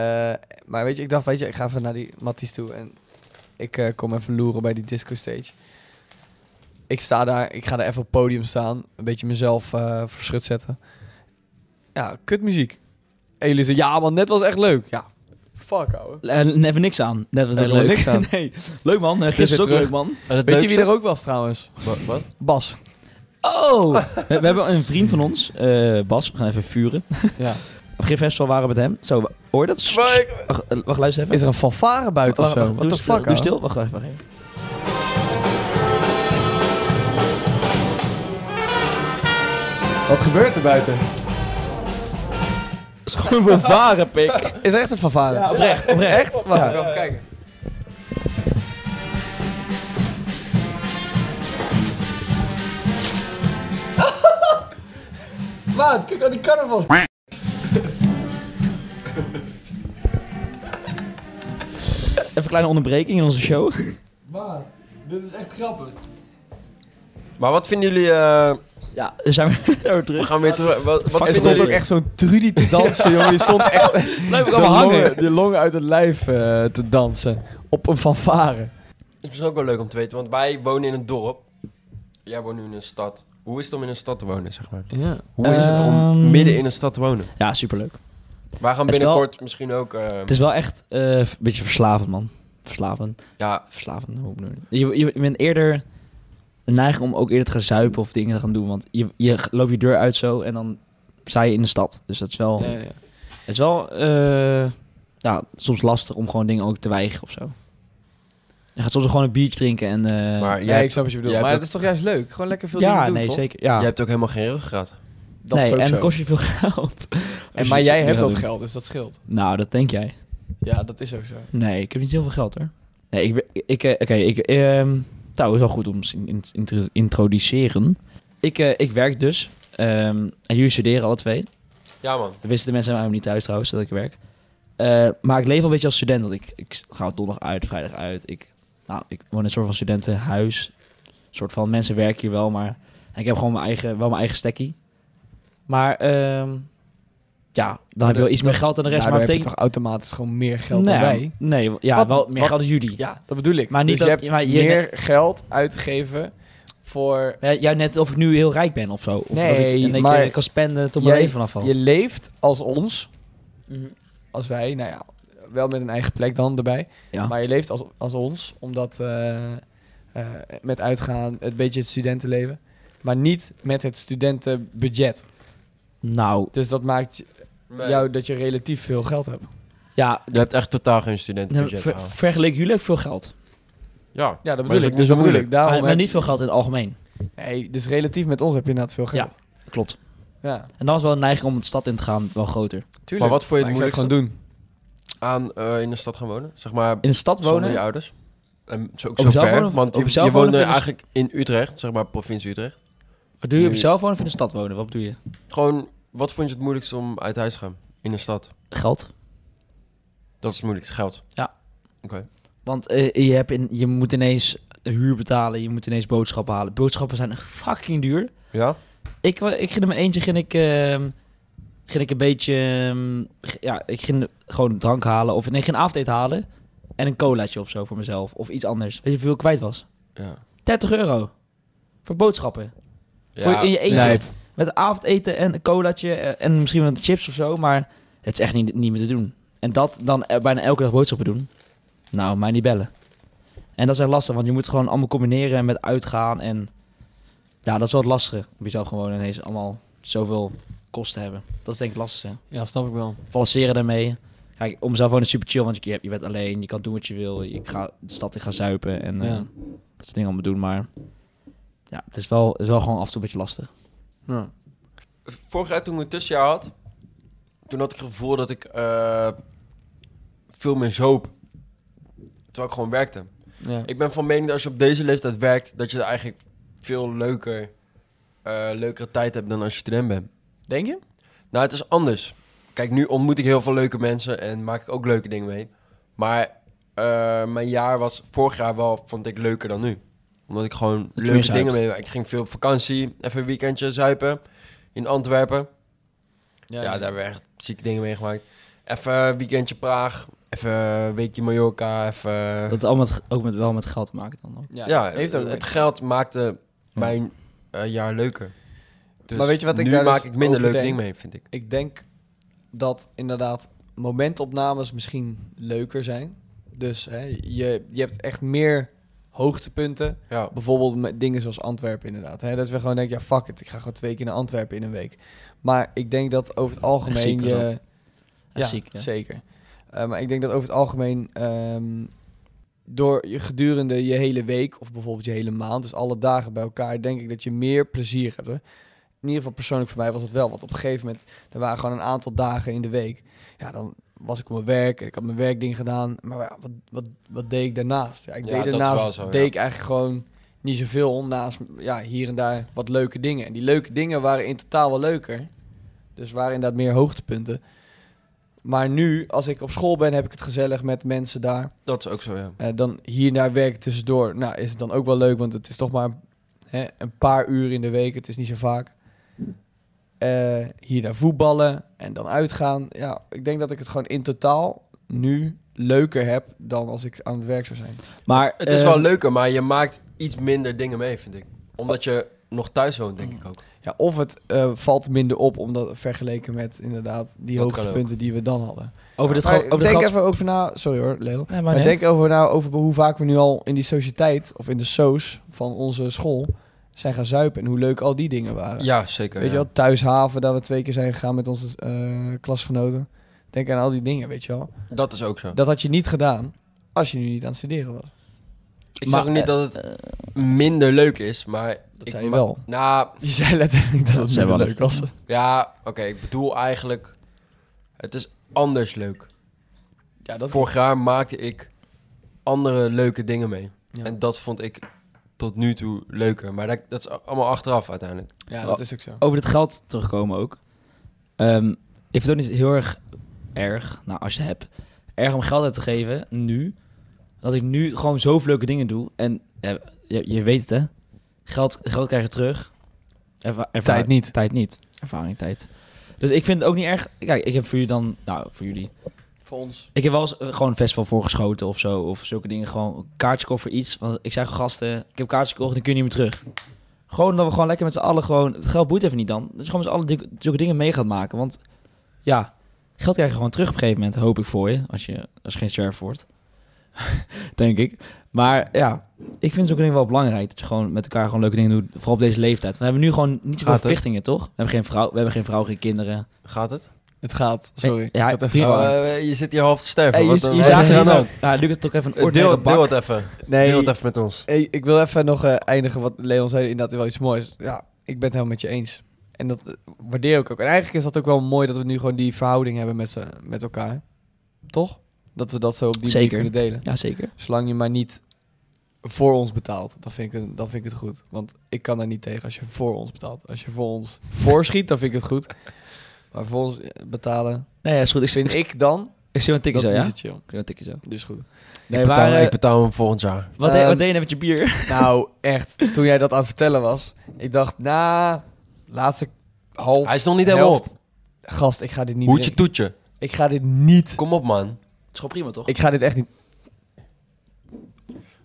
Speaker 1: maar weet je, ik dacht, weet je, ik ga even naar die Matties toe en ik eh, kom even loeren bij die disco stage. Ik sta daar, ik ga daar even op het podium staan, een beetje mezelf eh verschut zetten. Ja, kutmuziek. En jullie zeggen, ja man, net was echt leuk. Ja, fuck ouwe.
Speaker 3: Eh, net niks aan. Net was
Speaker 1: Daar
Speaker 3: net
Speaker 1: doen we
Speaker 3: leuk.
Speaker 1: niks aan.
Speaker 3: nee. Leuk man. Eh,
Speaker 1: Dus
Speaker 3: gisteren
Speaker 1: weer terug.
Speaker 3: is ook leuk man.
Speaker 2: En het
Speaker 1: Weet je wie
Speaker 2: leukste-
Speaker 1: er ook was trouwens?
Speaker 2: Wat? wat?
Speaker 1: Bas.
Speaker 3: Oh! we, we hebben een vriend van ons, eh, Bas. We gaan even vuren.
Speaker 1: Ja.
Speaker 3: Op geen festival waren we met hem. Zo, hoor je dat? Wacht, eh, wacht, luister even.
Speaker 1: Is er een fanfare buiten of
Speaker 3: Wacht,
Speaker 1: zo?
Speaker 3: wacht,
Speaker 1: What
Speaker 3: doe
Speaker 1: the
Speaker 3: stil-
Speaker 1: fuck,
Speaker 3: Doe
Speaker 1: ouwe?
Speaker 3: stil. Wacht even. Wacht even.
Speaker 1: Wat gebeurt er buiten?
Speaker 3: is gewoon voor varen, pik.
Speaker 1: Is echt een fanfare.
Speaker 3: Ja, oprecht, oprecht.
Speaker 1: Echt? Wacht,
Speaker 3: Ja.
Speaker 1: even kijken. Maat, kijk aan die carnavals.
Speaker 3: Even een kleine onderbreking in onze show.
Speaker 1: Maat, dit is echt grappig.
Speaker 2: Maar wat vinden jullie... eh,
Speaker 3: Ja, dan zijn we, zijn we
Speaker 2: we
Speaker 3: terug.
Speaker 2: gaan weer terug... Wat, wat
Speaker 3: Fuck
Speaker 1: Er
Speaker 2: vinden
Speaker 1: stond ook
Speaker 2: jullie-
Speaker 1: echt zo'n Trudy te dansen, jongen. Je stond echt
Speaker 3: Blijf ik
Speaker 1: de
Speaker 3: allemaal hangen.
Speaker 1: longen, de longen uit het lijf eh, te dansen. Op een fanfare.
Speaker 2: Het is misschien ook wel leuk om te weten, want wij wonen in een dorp. Jij woont nu in een stad. Hoe is het om in een stad te wonen, zeg maar?
Speaker 1: Ja.
Speaker 2: Hoe is het om
Speaker 3: Ehm,
Speaker 2: midden in een stad te wonen?
Speaker 3: Ja, superleuk.
Speaker 2: Wij gaan
Speaker 3: het is
Speaker 2: binnenkort misschien ook... eh,
Speaker 3: Het is wel echt eh, een beetje verslavend, man. Verslavend.
Speaker 2: ja,
Speaker 3: Verslavend, hoe bedoel je? Je, je? je bent eerder een neiging om ook eerder te gaan zuipen of dingen te gaan doen. Want je, je g- loopt je deur uit zo en dan sta je in de stad. Dus dat is wel, het is wel eh, ja, soms lastig om gewoon dingen ook te weigeren of zo. Je gaat soms ook gewoon een biertje drinken en... eh,
Speaker 2: maar
Speaker 1: Ja,
Speaker 2: jij,
Speaker 1: ik snap wat je bedoelt.
Speaker 2: jij
Speaker 1: Maar
Speaker 2: hebt
Speaker 1: het is toch juist leuk? Gewoon lekker veel
Speaker 3: ja,
Speaker 1: dingen doen,
Speaker 3: nee,
Speaker 1: toch?
Speaker 3: zeker. Ja.
Speaker 2: jij hebt ook helemaal geen ruggengraat.
Speaker 1: Dat
Speaker 3: nee,
Speaker 1: is ook
Speaker 3: en
Speaker 1: zo.
Speaker 3: het kost je veel geld.
Speaker 1: En, maar jij hebt dat
Speaker 3: geld.
Speaker 1: geld, dus dat scheelt.
Speaker 3: Nou, dat denk jij.
Speaker 1: Ja, dat is ook zo.
Speaker 3: Nee, ik heb niet heel veel geld hoor. Nee, ik, ben- ik, eh, oké, ik, ehm nou, is wel goed om misschien in- in te introduceren. Ik, eh, ik werk dus. ehm, en jullie studeren alle twee.
Speaker 2: Ja, man.
Speaker 3: Dat wisten de mensen helemaal niet thuis trouwens, dat ik werk. Eh, maar ik leef al een beetje als student, want ik, ik ga op donderdag uit, vrijdag uit. Ik, nou, ik woon in een soort van studentenhuis. Een soort van, mensen werken hier wel, maar en ik heb gewoon mijn eigen, wel mijn eigen stekkie. Maar ehm, ja, dan heb je wel iets meer geld dan de rest.
Speaker 1: Daardoor
Speaker 3: Nou, maar
Speaker 1: Nou, heb je
Speaker 3: betekent-
Speaker 1: toch automatisch gewoon meer geld
Speaker 3: nee,
Speaker 1: dan wij?
Speaker 3: Nee, ja,
Speaker 1: Wat-
Speaker 3: wel meer
Speaker 1: wat-
Speaker 3: geld dan jullie.
Speaker 1: Ja, dat bedoel ik.
Speaker 3: Maar niet
Speaker 1: dus
Speaker 3: dat-
Speaker 1: je hebt
Speaker 3: maar je-
Speaker 1: meer geld uitgegeven voor...
Speaker 3: Ja, jij net of ik nu heel rijk ben of zo. Of dat
Speaker 1: Nee,
Speaker 3: ik in één
Speaker 1: maar
Speaker 3: keer kan spenden tot mijn
Speaker 1: jij-
Speaker 3: leven vanaf valt.
Speaker 1: Je leeft als ons,
Speaker 3: Mhm.
Speaker 1: als wij, nou ja, wel met een eigen plek dan erbij.
Speaker 3: Ja.
Speaker 1: Maar je leeft als, als ons, omdat eh, eh, met uitgaan, het beetje het studentenleven. Maar niet met het studentenbudget.
Speaker 3: Nou,
Speaker 1: Dus dat maakt jou dat je relatief veel geld hebt.
Speaker 3: ja.
Speaker 2: Je hebt echt totaal geen
Speaker 3: nou,
Speaker 2: studentenbudget.
Speaker 3: ver-
Speaker 2: gehaald.
Speaker 3: vergelijk jullie ook veel geld.
Speaker 2: ja.
Speaker 1: Ja, dat
Speaker 2: Maar
Speaker 1: bedoel
Speaker 2: dat
Speaker 1: ik.
Speaker 2: is
Speaker 1: Dus dat
Speaker 2: ook niet
Speaker 1: bedoel
Speaker 2: zo
Speaker 1: ik. Daarom
Speaker 3: maar, maar
Speaker 1: heb-
Speaker 3: niet veel geld in het algemeen.
Speaker 1: Nee, dus relatief met ons heb je inderdaad veel geld.
Speaker 3: Klopt.
Speaker 1: Ja,
Speaker 3: En dan is wel een neiging om de stad in te gaan wel groter.
Speaker 1: tuurlijk.
Speaker 2: Maar wat vond je het
Speaker 1: ik zou het
Speaker 2: moeilijkste
Speaker 1: gewoon doen.
Speaker 2: aan eh, in de stad gaan wonen? Zeg maar
Speaker 3: In de stad
Speaker 2: zonder je
Speaker 3: wonen.
Speaker 2: ouders? En Ehm, zo, ook
Speaker 3: Op
Speaker 2: zo
Speaker 3: zelf
Speaker 2: ver,
Speaker 3: wonen of-
Speaker 2: want
Speaker 3: op
Speaker 2: je,
Speaker 3: zelf
Speaker 2: je
Speaker 3: wonen
Speaker 2: woont
Speaker 3: of in de s-
Speaker 2: eigenlijk in Utrecht, zeg maar provincie Utrecht.
Speaker 3: Wat doe je op
Speaker 2: Nu-
Speaker 3: jezelf wonen of in de stad wonen? Wat bedoel je?
Speaker 2: Gewoon, wat vond je het moeilijkst om uit huis te gaan in de stad?
Speaker 3: Geld.
Speaker 2: Dat is het moeilijkste, geld.
Speaker 3: Ja.
Speaker 2: Oké.
Speaker 3: Want eh, je, hebt in, je moet ineens huur betalen. Je moet ineens boodschappen halen. Boodschappen zijn echt fucking duur.
Speaker 2: Ja?
Speaker 3: Ik, wa- ik ging in mijn eentje ging ik, ehm, ging ik een beetje... ehm, g- ja, ik ging gewoon drank halen. Of nee, geen avondeten halen. En een colaatje of zo voor mezelf. Of iets anders. Weet je hoeveel ik kwijt was?
Speaker 2: Ja.
Speaker 3: 30 euro. Voor boodschappen. Voor je- in je eentje.
Speaker 1: Lijp.
Speaker 3: Met avondeten en een colaatje. eh, En misschien wat chips of zo. Maar het is echt niet, niet meer te doen. En dat dan eh, bijna elke dag boodschappen doen. Nou, mij niet bellen. En dat is echt lastig. Want je moet het gewoon allemaal combineren met uitgaan. En ja, dat is wel het lastige. Om jezelf gewoon ineens allemaal zoveel kosten te hebben. Dat is denk ik het lastigste
Speaker 1: Ja, snap ik wel.
Speaker 3: balanceren daarmee. Kijk, om zelf wonen is super chill, want je, je bent alleen, je kan doen wat je wil. Ik ga de stad in gaan zuipen en eh,
Speaker 1: Ja.
Speaker 3: dat soort dingen allemaal doen. Maar ja, het is wel, het is wel gewoon af en toe een beetje lastig.
Speaker 1: Ja.
Speaker 2: Vorig jaar toen ik het tussenjaar had, toen had ik het gevoel dat ik eh, veel meer zoop. Terwijl ik gewoon werkte.
Speaker 1: Ja.
Speaker 2: Ik ben van mening dat als je op deze leeftijd werkt, dat je er eigenlijk veel leuker, eh, leukere tijd hebt dan als je student bent.
Speaker 1: Denk je?
Speaker 2: Nou, het is anders. Kijk, nu ontmoet ik heel veel leuke mensen en maak ik ook leuke dingen mee. Maar eh, mijn jaar was vorig jaar wel, vond ik leuker dan nu. Omdat ik gewoon
Speaker 3: je
Speaker 2: leuke
Speaker 3: zuipt.
Speaker 2: dingen mee. Ik ging veel op vakantie, even een weekendje zuipen in Antwerpen. Ja, daar hebben we echt zieke dingen mee gemaakt. Even een weekendje Praag, even een weekje Mallorca, even...
Speaker 1: Eh.
Speaker 3: Dat het allemaal met- ook met, wel met geld te maken dan. Ook.
Speaker 1: Ja,
Speaker 2: ja,
Speaker 1: heeft ook
Speaker 2: het geld maakte
Speaker 3: Ja.
Speaker 2: mijn eh, jaar leuker. Dus
Speaker 1: Maar weet je wat ik
Speaker 2: nu
Speaker 1: daar dus
Speaker 2: maak ik minder
Speaker 1: over
Speaker 2: leuk
Speaker 1: denk?
Speaker 2: ding mee, vind ik.
Speaker 1: Ik denk dat inderdaad momentopnames misschien leuker zijn. Dus hè, je, je hebt echt meer hoogtepunten.
Speaker 2: Ja,
Speaker 1: Bijvoorbeeld met dingen zoals Antwerpen inderdaad. Hè? Dat we gewoon denken, ja fuck it, ik ga gewoon twee keer naar Antwerpen in een week. Maar ik denk dat over het algemeen...
Speaker 3: ziek was
Speaker 1: je-
Speaker 3: dat. Echt ziek, ja.
Speaker 1: zeker. Eh, maar ik denk dat over het algemeen ehm, door je gedurende je hele week of bijvoorbeeld je hele maand, dus alle dagen bij elkaar, denk ik dat je meer plezier hebt. Hoor. in ieder geval persoonlijk voor mij was het wel. Want op een gegeven moment, er waren gewoon een aantal dagen in de week. Ja, dan was ik op mijn werk en ik had mijn werkding gedaan. Maar ja, wat, wat, wat deed ik daarnaast? Ja, ik
Speaker 2: Ja,
Speaker 1: deed
Speaker 2: dat is wel
Speaker 1: daarnaast
Speaker 2: zo, ja.
Speaker 1: deed ik eigenlijk gewoon niet zoveel. Naast ja, hier en daar wat leuke dingen. En die leuke dingen waren in totaal wel leuker. Dus waren inderdaad meer hoogtepunten. Maar nu, als ik op school ben, heb ik het gezellig met mensen daar.
Speaker 2: Dat is ook zo, ja.
Speaker 1: Eh, dan hier naar werk tussendoor. Nou, is het dan ook wel leuk, want het is toch maar hè, een paar uur in de week. Het is niet zo vaak. Eh, hier naar voetballen en dan uitgaan. Ja, ik denk dat ik het gewoon in totaal nu leuker heb dan als ik aan het werk zou zijn.
Speaker 3: Maar,
Speaker 2: Het is
Speaker 3: eh,
Speaker 2: wel leuker, maar je maakt iets minder dingen mee, vind ik. Omdat je nog thuis woont, denk ik ook.
Speaker 1: Ja, of het eh, valt minder op omdat vergeleken met inderdaad die
Speaker 2: Dat kan
Speaker 1: hoogtepunten die we dan hadden.
Speaker 3: Over dit
Speaker 1: Maar
Speaker 3: gra- over dit
Speaker 1: denk
Speaker 3: gra-
Speaker 1: even over na. Sorry hoor, Leo.
Speaker 3: Nee, maar
Speaker 1: Maar
Speaker 3: net.
Speaker 1: denk over nou over hoe vaak we nu al in die sociëteit of in de soos van onze school zijn gaan zuipen en hoe leuk al die dingen waren.
Speaker 2: Ja, zeker.
Speaker 1: weet je
Speaker 2: ja.
Speaker 1: wel, thuishaven, dat we twee keer zijn gegaan met onze eh, klasgenoten. Denk aan al die dingen, weet je wel.
Speaker 2: Dat is ook zo.
Speaker 1: Dat had je niet gedaan als je nu niet aan het studeren was.
Speaker 2: Ik
Speaker 3: Maar,
Speaker 2: zeg ook niet
Speaker 3: eh,
Speaker 2: dat het minder leuk is, maar...
Speaker 1: Dat
Speaker 2: ik
Speaker 1: zei je
Speaker 2: ma-
Speaker 1: wel.
Speaker 2: Nou,
Speaker 1: Je zei letterlijk dat het
Speaker 3: zei
Speaker 1: minder
Speaker 3: wel
Speaker 1: leuk was.
Speaker 2: ja, oké, ik bedoel eigenlijk... Het is anders leuk.
Speaker 1: Ja, dat
Speaker 2: Vorig jaar maakte ik andere leuke dingen mee.
Speaker 1: Ja.
Speaker 2: En dat vond ik tot nu toe leuker. Maar dat, dat is allemaal achteraf uiteindelijk.
Speaker 1: ja, dat is ook zo.
Speaker 3: over dit geld terugkomen ook. Ehm, ik vind het ook niet heel erg erg, nou als je het hebt, erg om geld uit te geven nu. Dat ik nu gewoon zoveel leuke dingen doe. En eh, je, je weet het hè, geld, geld krijg je terug. Erva- erva-
Speaker 1: Tijd niet.
Speaker 3: Tijd niet. Ervaring, tijd. Dus ik vind het ook niet erg. Kijk, ik heb voor jullie dan, nou voor jullie.
Speaker 1: Voor ons.
Speaker 3: Ik heb wel eens eh, gewoon een festival voorgeschoten of zo. Of zulke dingen. Gewoon een kaartje kopen voor iets. Want ik zei gewoon, gasten, ik heb kaartjes gekocht, dan kun je niet meer terug. Gewoon dat we gewoon lekker met z'n allen gewoon... Het geld boeit even niet dan. Dus gewoon met z'n allen dik- zulke dingen mee gaat maken. Want ja, geld krijg je gewoon terug op een gegeven moment. Hoop ik voor je. Als je, als je geen surf wordt. Denk ik. Maar ja, ik vind zulke dingen wel belangrijk. Dat je gewoon met elkaar gewoon leuke dingen doet. Vooral op deze leeftijd. We hebben nu gewoon niet zoveel
Speaker 2: Gaat het?
Speaker 3: verplichtingen, toch? We hebben geen vrouw, we hebben geen, vrouw geen kinderen.
Speaker 2: Gaat het?
Speaker 1: Het gaat, sorry.
Speaker 3: Ja,
Speaker 1: ik had even Oh,
Speaker 3: ja,
Speaker 1: zwaar.
Speaker 2: Eh, je zit hier half te sterven.
Speaker 3: Hey, je,
Speaker 2: Wat- eh,
Speaker 3: je
Speaker 2: wat
Speaker 3: zagen
Speaker 2: is er aan
Speaker 3: hier
Speaker 2: de
Speaker 3: nou...
Speaker 2: hand?
Speaker 3: Ja, Lucas, toch even een
Speaker 2: Eh,
Speaker 3: ordelijke
Speaker 2: Deel,
Speaker 3: bak.
Speaker 2: deel het even.
Speaker 1: nee,
Speaker 2: Deel het even met ons.
Speaker 1: Hey, ik wil even nog eh, eindigen wat Leon zei. Inderdaad, wel iets moois. Ja, ik ben het helemaal met je eens. En dat eh, waardeer ik ook. En eigenlijk is dat ook wel mooi dat we nu gewoon die verhouding hebben met, z'n- met elkaar. Toch? Dat we dat zo op die
Speaker 3: Zeker.
Speaker 1: manier kunnen delen.
Speaker 3: Ja, zeker.
Speaker 1: Zolang je maar niet voor ons betaalt, dan vind, ik, het- dan vind ik het goed. Want ik kan daar niet tegen als je voor ons betaalt. Als je voor ons voorschiet, dan vind ik het goed. Maar voor ons eh, betalen,
Speaker 3: Nee, ja, is goed. Ik,
Speaker 1: vind
Speaker 3: ik,
Speaker 1: ik dan,
Speaker 3: ik zie een tikje
Speaker 1: dat
Speaker 3: zo,
Speaker 1: is
Speaker 3: ja?
Speaker 1: niet
Speaker 3: Ik
Speaker 1: zo chill.
Speaker 3: zie een tikje zo.
Speaker 1: Dus goed.
Speaker 3: Nee,
Speaker 2: ik, betaal,
Speaker 3: maar, eh,
Speaker 2: ik betaal hem volgend jaar.
Speaker 3: wat, deed-
Speaker 1: Ehm,
Speaker 3: wat deed je nou met je bier?
Speaker 1: Nou, echt. Toen jij dat aan het vertellen was, ik dacht, na laatste half...
Speaker 2: Hij is nog niet helemaal
Speaker 1: helft.
Speaker 2: op.
Speaker 1: Gast, ik ga dit niet
Speaker 2: Hoedje
Speaker 1: drinken.
Speaker 2: toetje.
Speaker 1: Ik ga dit niet...
Speaker 2: Kom op, man.
Speaker 3: is gewoon prima, toch?
Speaker 1: Ik ga dit echt niet...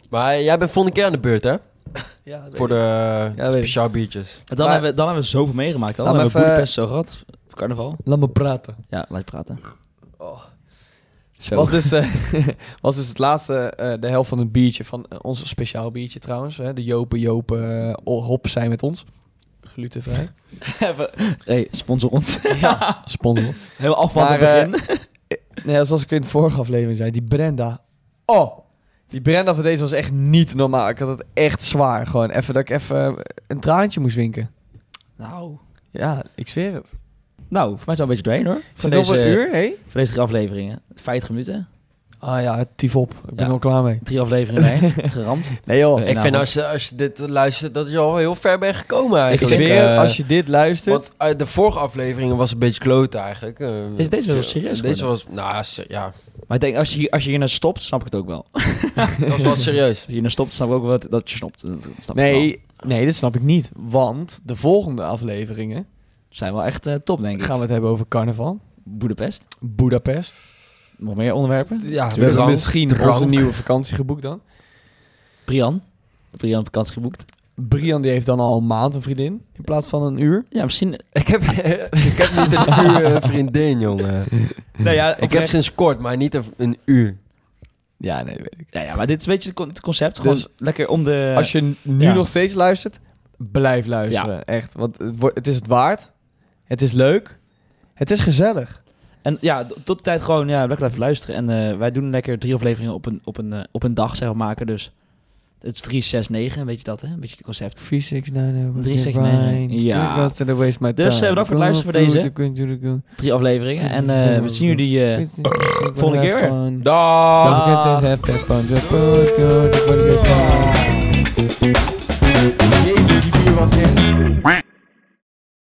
Speaker 2: Maar jij bent volgende keer aan de beurt, hè?
Speaker 1: Ja,
Speaker 2: Voor de
Speaker 1: Ja, weet ik.
Speaker 2: speciaal biertjes.
Speaker 3: dan,
Speaker 1: maar-
Speaker 3: hebben, we- dan hebben we zoveel meegemaakt. Dan,
Speaker 1: Laat me
Speaker 3: hebben we
Speaker 1: even-
Speaker 3: Boedapest zo gehad. Carnaval.
Speaker 1: Laat me praten.
Speaker 3: Ja, laat je praten.
Speaker 1: Oh.
Speaker 3: Zo.
Speaker 1: Was, dus, eh, was dus het laatste, eh, de helft van het biertje, van eh, ons speciaal biertje trouwens. Hè, de Jopen Jopen eh, hop zijn met ons. Glutenvrij.
Speaker 3: Even- hey, sponsor ons.
Speaker 1: ja, sponsor.
Speaker 3: Heel afval aan het
Speaker 1: Maar, eh,
Speaker 3: begin.
Speaker 1: Nee, zoals ik in de vorige aflevering zei, die Brenda. Oh, die Brenda van deze was echt niet normaal. Ik had het echt zwaar. Gewoon even dat ik even een traantje moest winken.
Speaker 3: nou.
Speaker 1: Ja, ik zweer het.
Speaker 3: nou, voor mij is het wel een beetje doorheen, hoor. Van
Speaker 1: Zit het
Speaker 3: deze,
Speaker 1: op een uur, hé?
Speaker 3: Van deze drie afleveringen. 50 minuten.
Speaker 1: Ah ja, tief op. Ik ben
Speaker 3: Ja.
Speaker 1: al klaar mee.
Speaker 3: Drie afleveringen bij. geramd.
Speaker 1: Nee joh,
Speaker 3: Nee,
Speaker 1: ik
Speaker 2: ik vind
Speaker 3: goed.
Speaker 2: als je, als je dit luistert, dat je al heel ver bent gekomen eigenlijk.
Speaker 1: zweer,
Speaker 2: Eh,
Speaker 1: als je dit luistert...
Speaker 2: Want uit de vorige afleveringen was een beetje kloten eigenlijk. Eh,
Speaker 3: Is deze wel
Speaker 2: veel-
Speaker 3: serieus
Speaker 2: Deze was, nou se- ja,
Speaker 3: Maar ik denk, als je, hier- als je hierna stopt, snap ik het ook wel. Als
Speaker 2: dat was wel serieus.
Speaker 3: je hierna stopt, snap ik ook wel dat, dat je snopt. Dat, dat snap ik wel.
Speaker 1: Nee, nee, dat snap ik niet. Want de volgende afleveringen
Speaker 3: Zijn wel echt eh, top, denk ik.
Speaker 1: gaan we het hebben over carnaval.
Speaker 3: Boedapest.
Speaker 1: Budapest.
Speaker 3: Nog meer onderwerpen?
Speaker 2: Ja,
Speaker 1: We hebben
Speaker 2: drank,
Speaker 1: misschien
Speaker 2: drank.
Speaker 1: onze nieuwe vakantie geboekt dan.
Speaker 3: Brian. Brian op vakantie geboekt.
Speaker 1: Brian die heeft dan al een maand een vriendin in plaats van een uur.
Speaker 3: Ja, misschien...
Speaker 2: Ik heb, ik heb niet een uur eh, vriendin, jongen.
Speaker 3: Nee, ja,
Speaker 2: Ik heb sinds kort, maar niet een, een uur.
Speaker 1: Ja, nee, weet ik.
Speaker 3: Ja, ja, maar dit is een beetje het con- het concept. Gewoon
Speaker 1: Dus-
Speaker 3: lekker om de...
Speaker 1: Als je n- nu
Speaker 3: ja.
Speaker 1: nog steeds luistert, blijf luisteren. Echt, want het, wordt- het is het waard. Het is leuk. Het is gezellig.
Speaker 3: En ja, d- tot de tijd gewoon ja, lekker even luisteren. En eh, wij doen lekker drie afleveringen op een, op een, eh, op een dag, zeg maar, maken. Dus het Het is 369, weet je dat hè? Een beetje het concept.
Speaker 1: 369.
Speaker 3: 369, ja.
Speaker 1: Ja. Not gonna waste my
Speaker 3: Dus,
Speaker 1: time.
Speaker 3: eh, bedankt voor het luisteren voor deze. Drie afleveringen. En eh, we zien jullie... eh, volgende keer weer.
Speaker 1: Dag. Don't forget to have fun. Just put good, put good fun.
Speaker 2: Dag.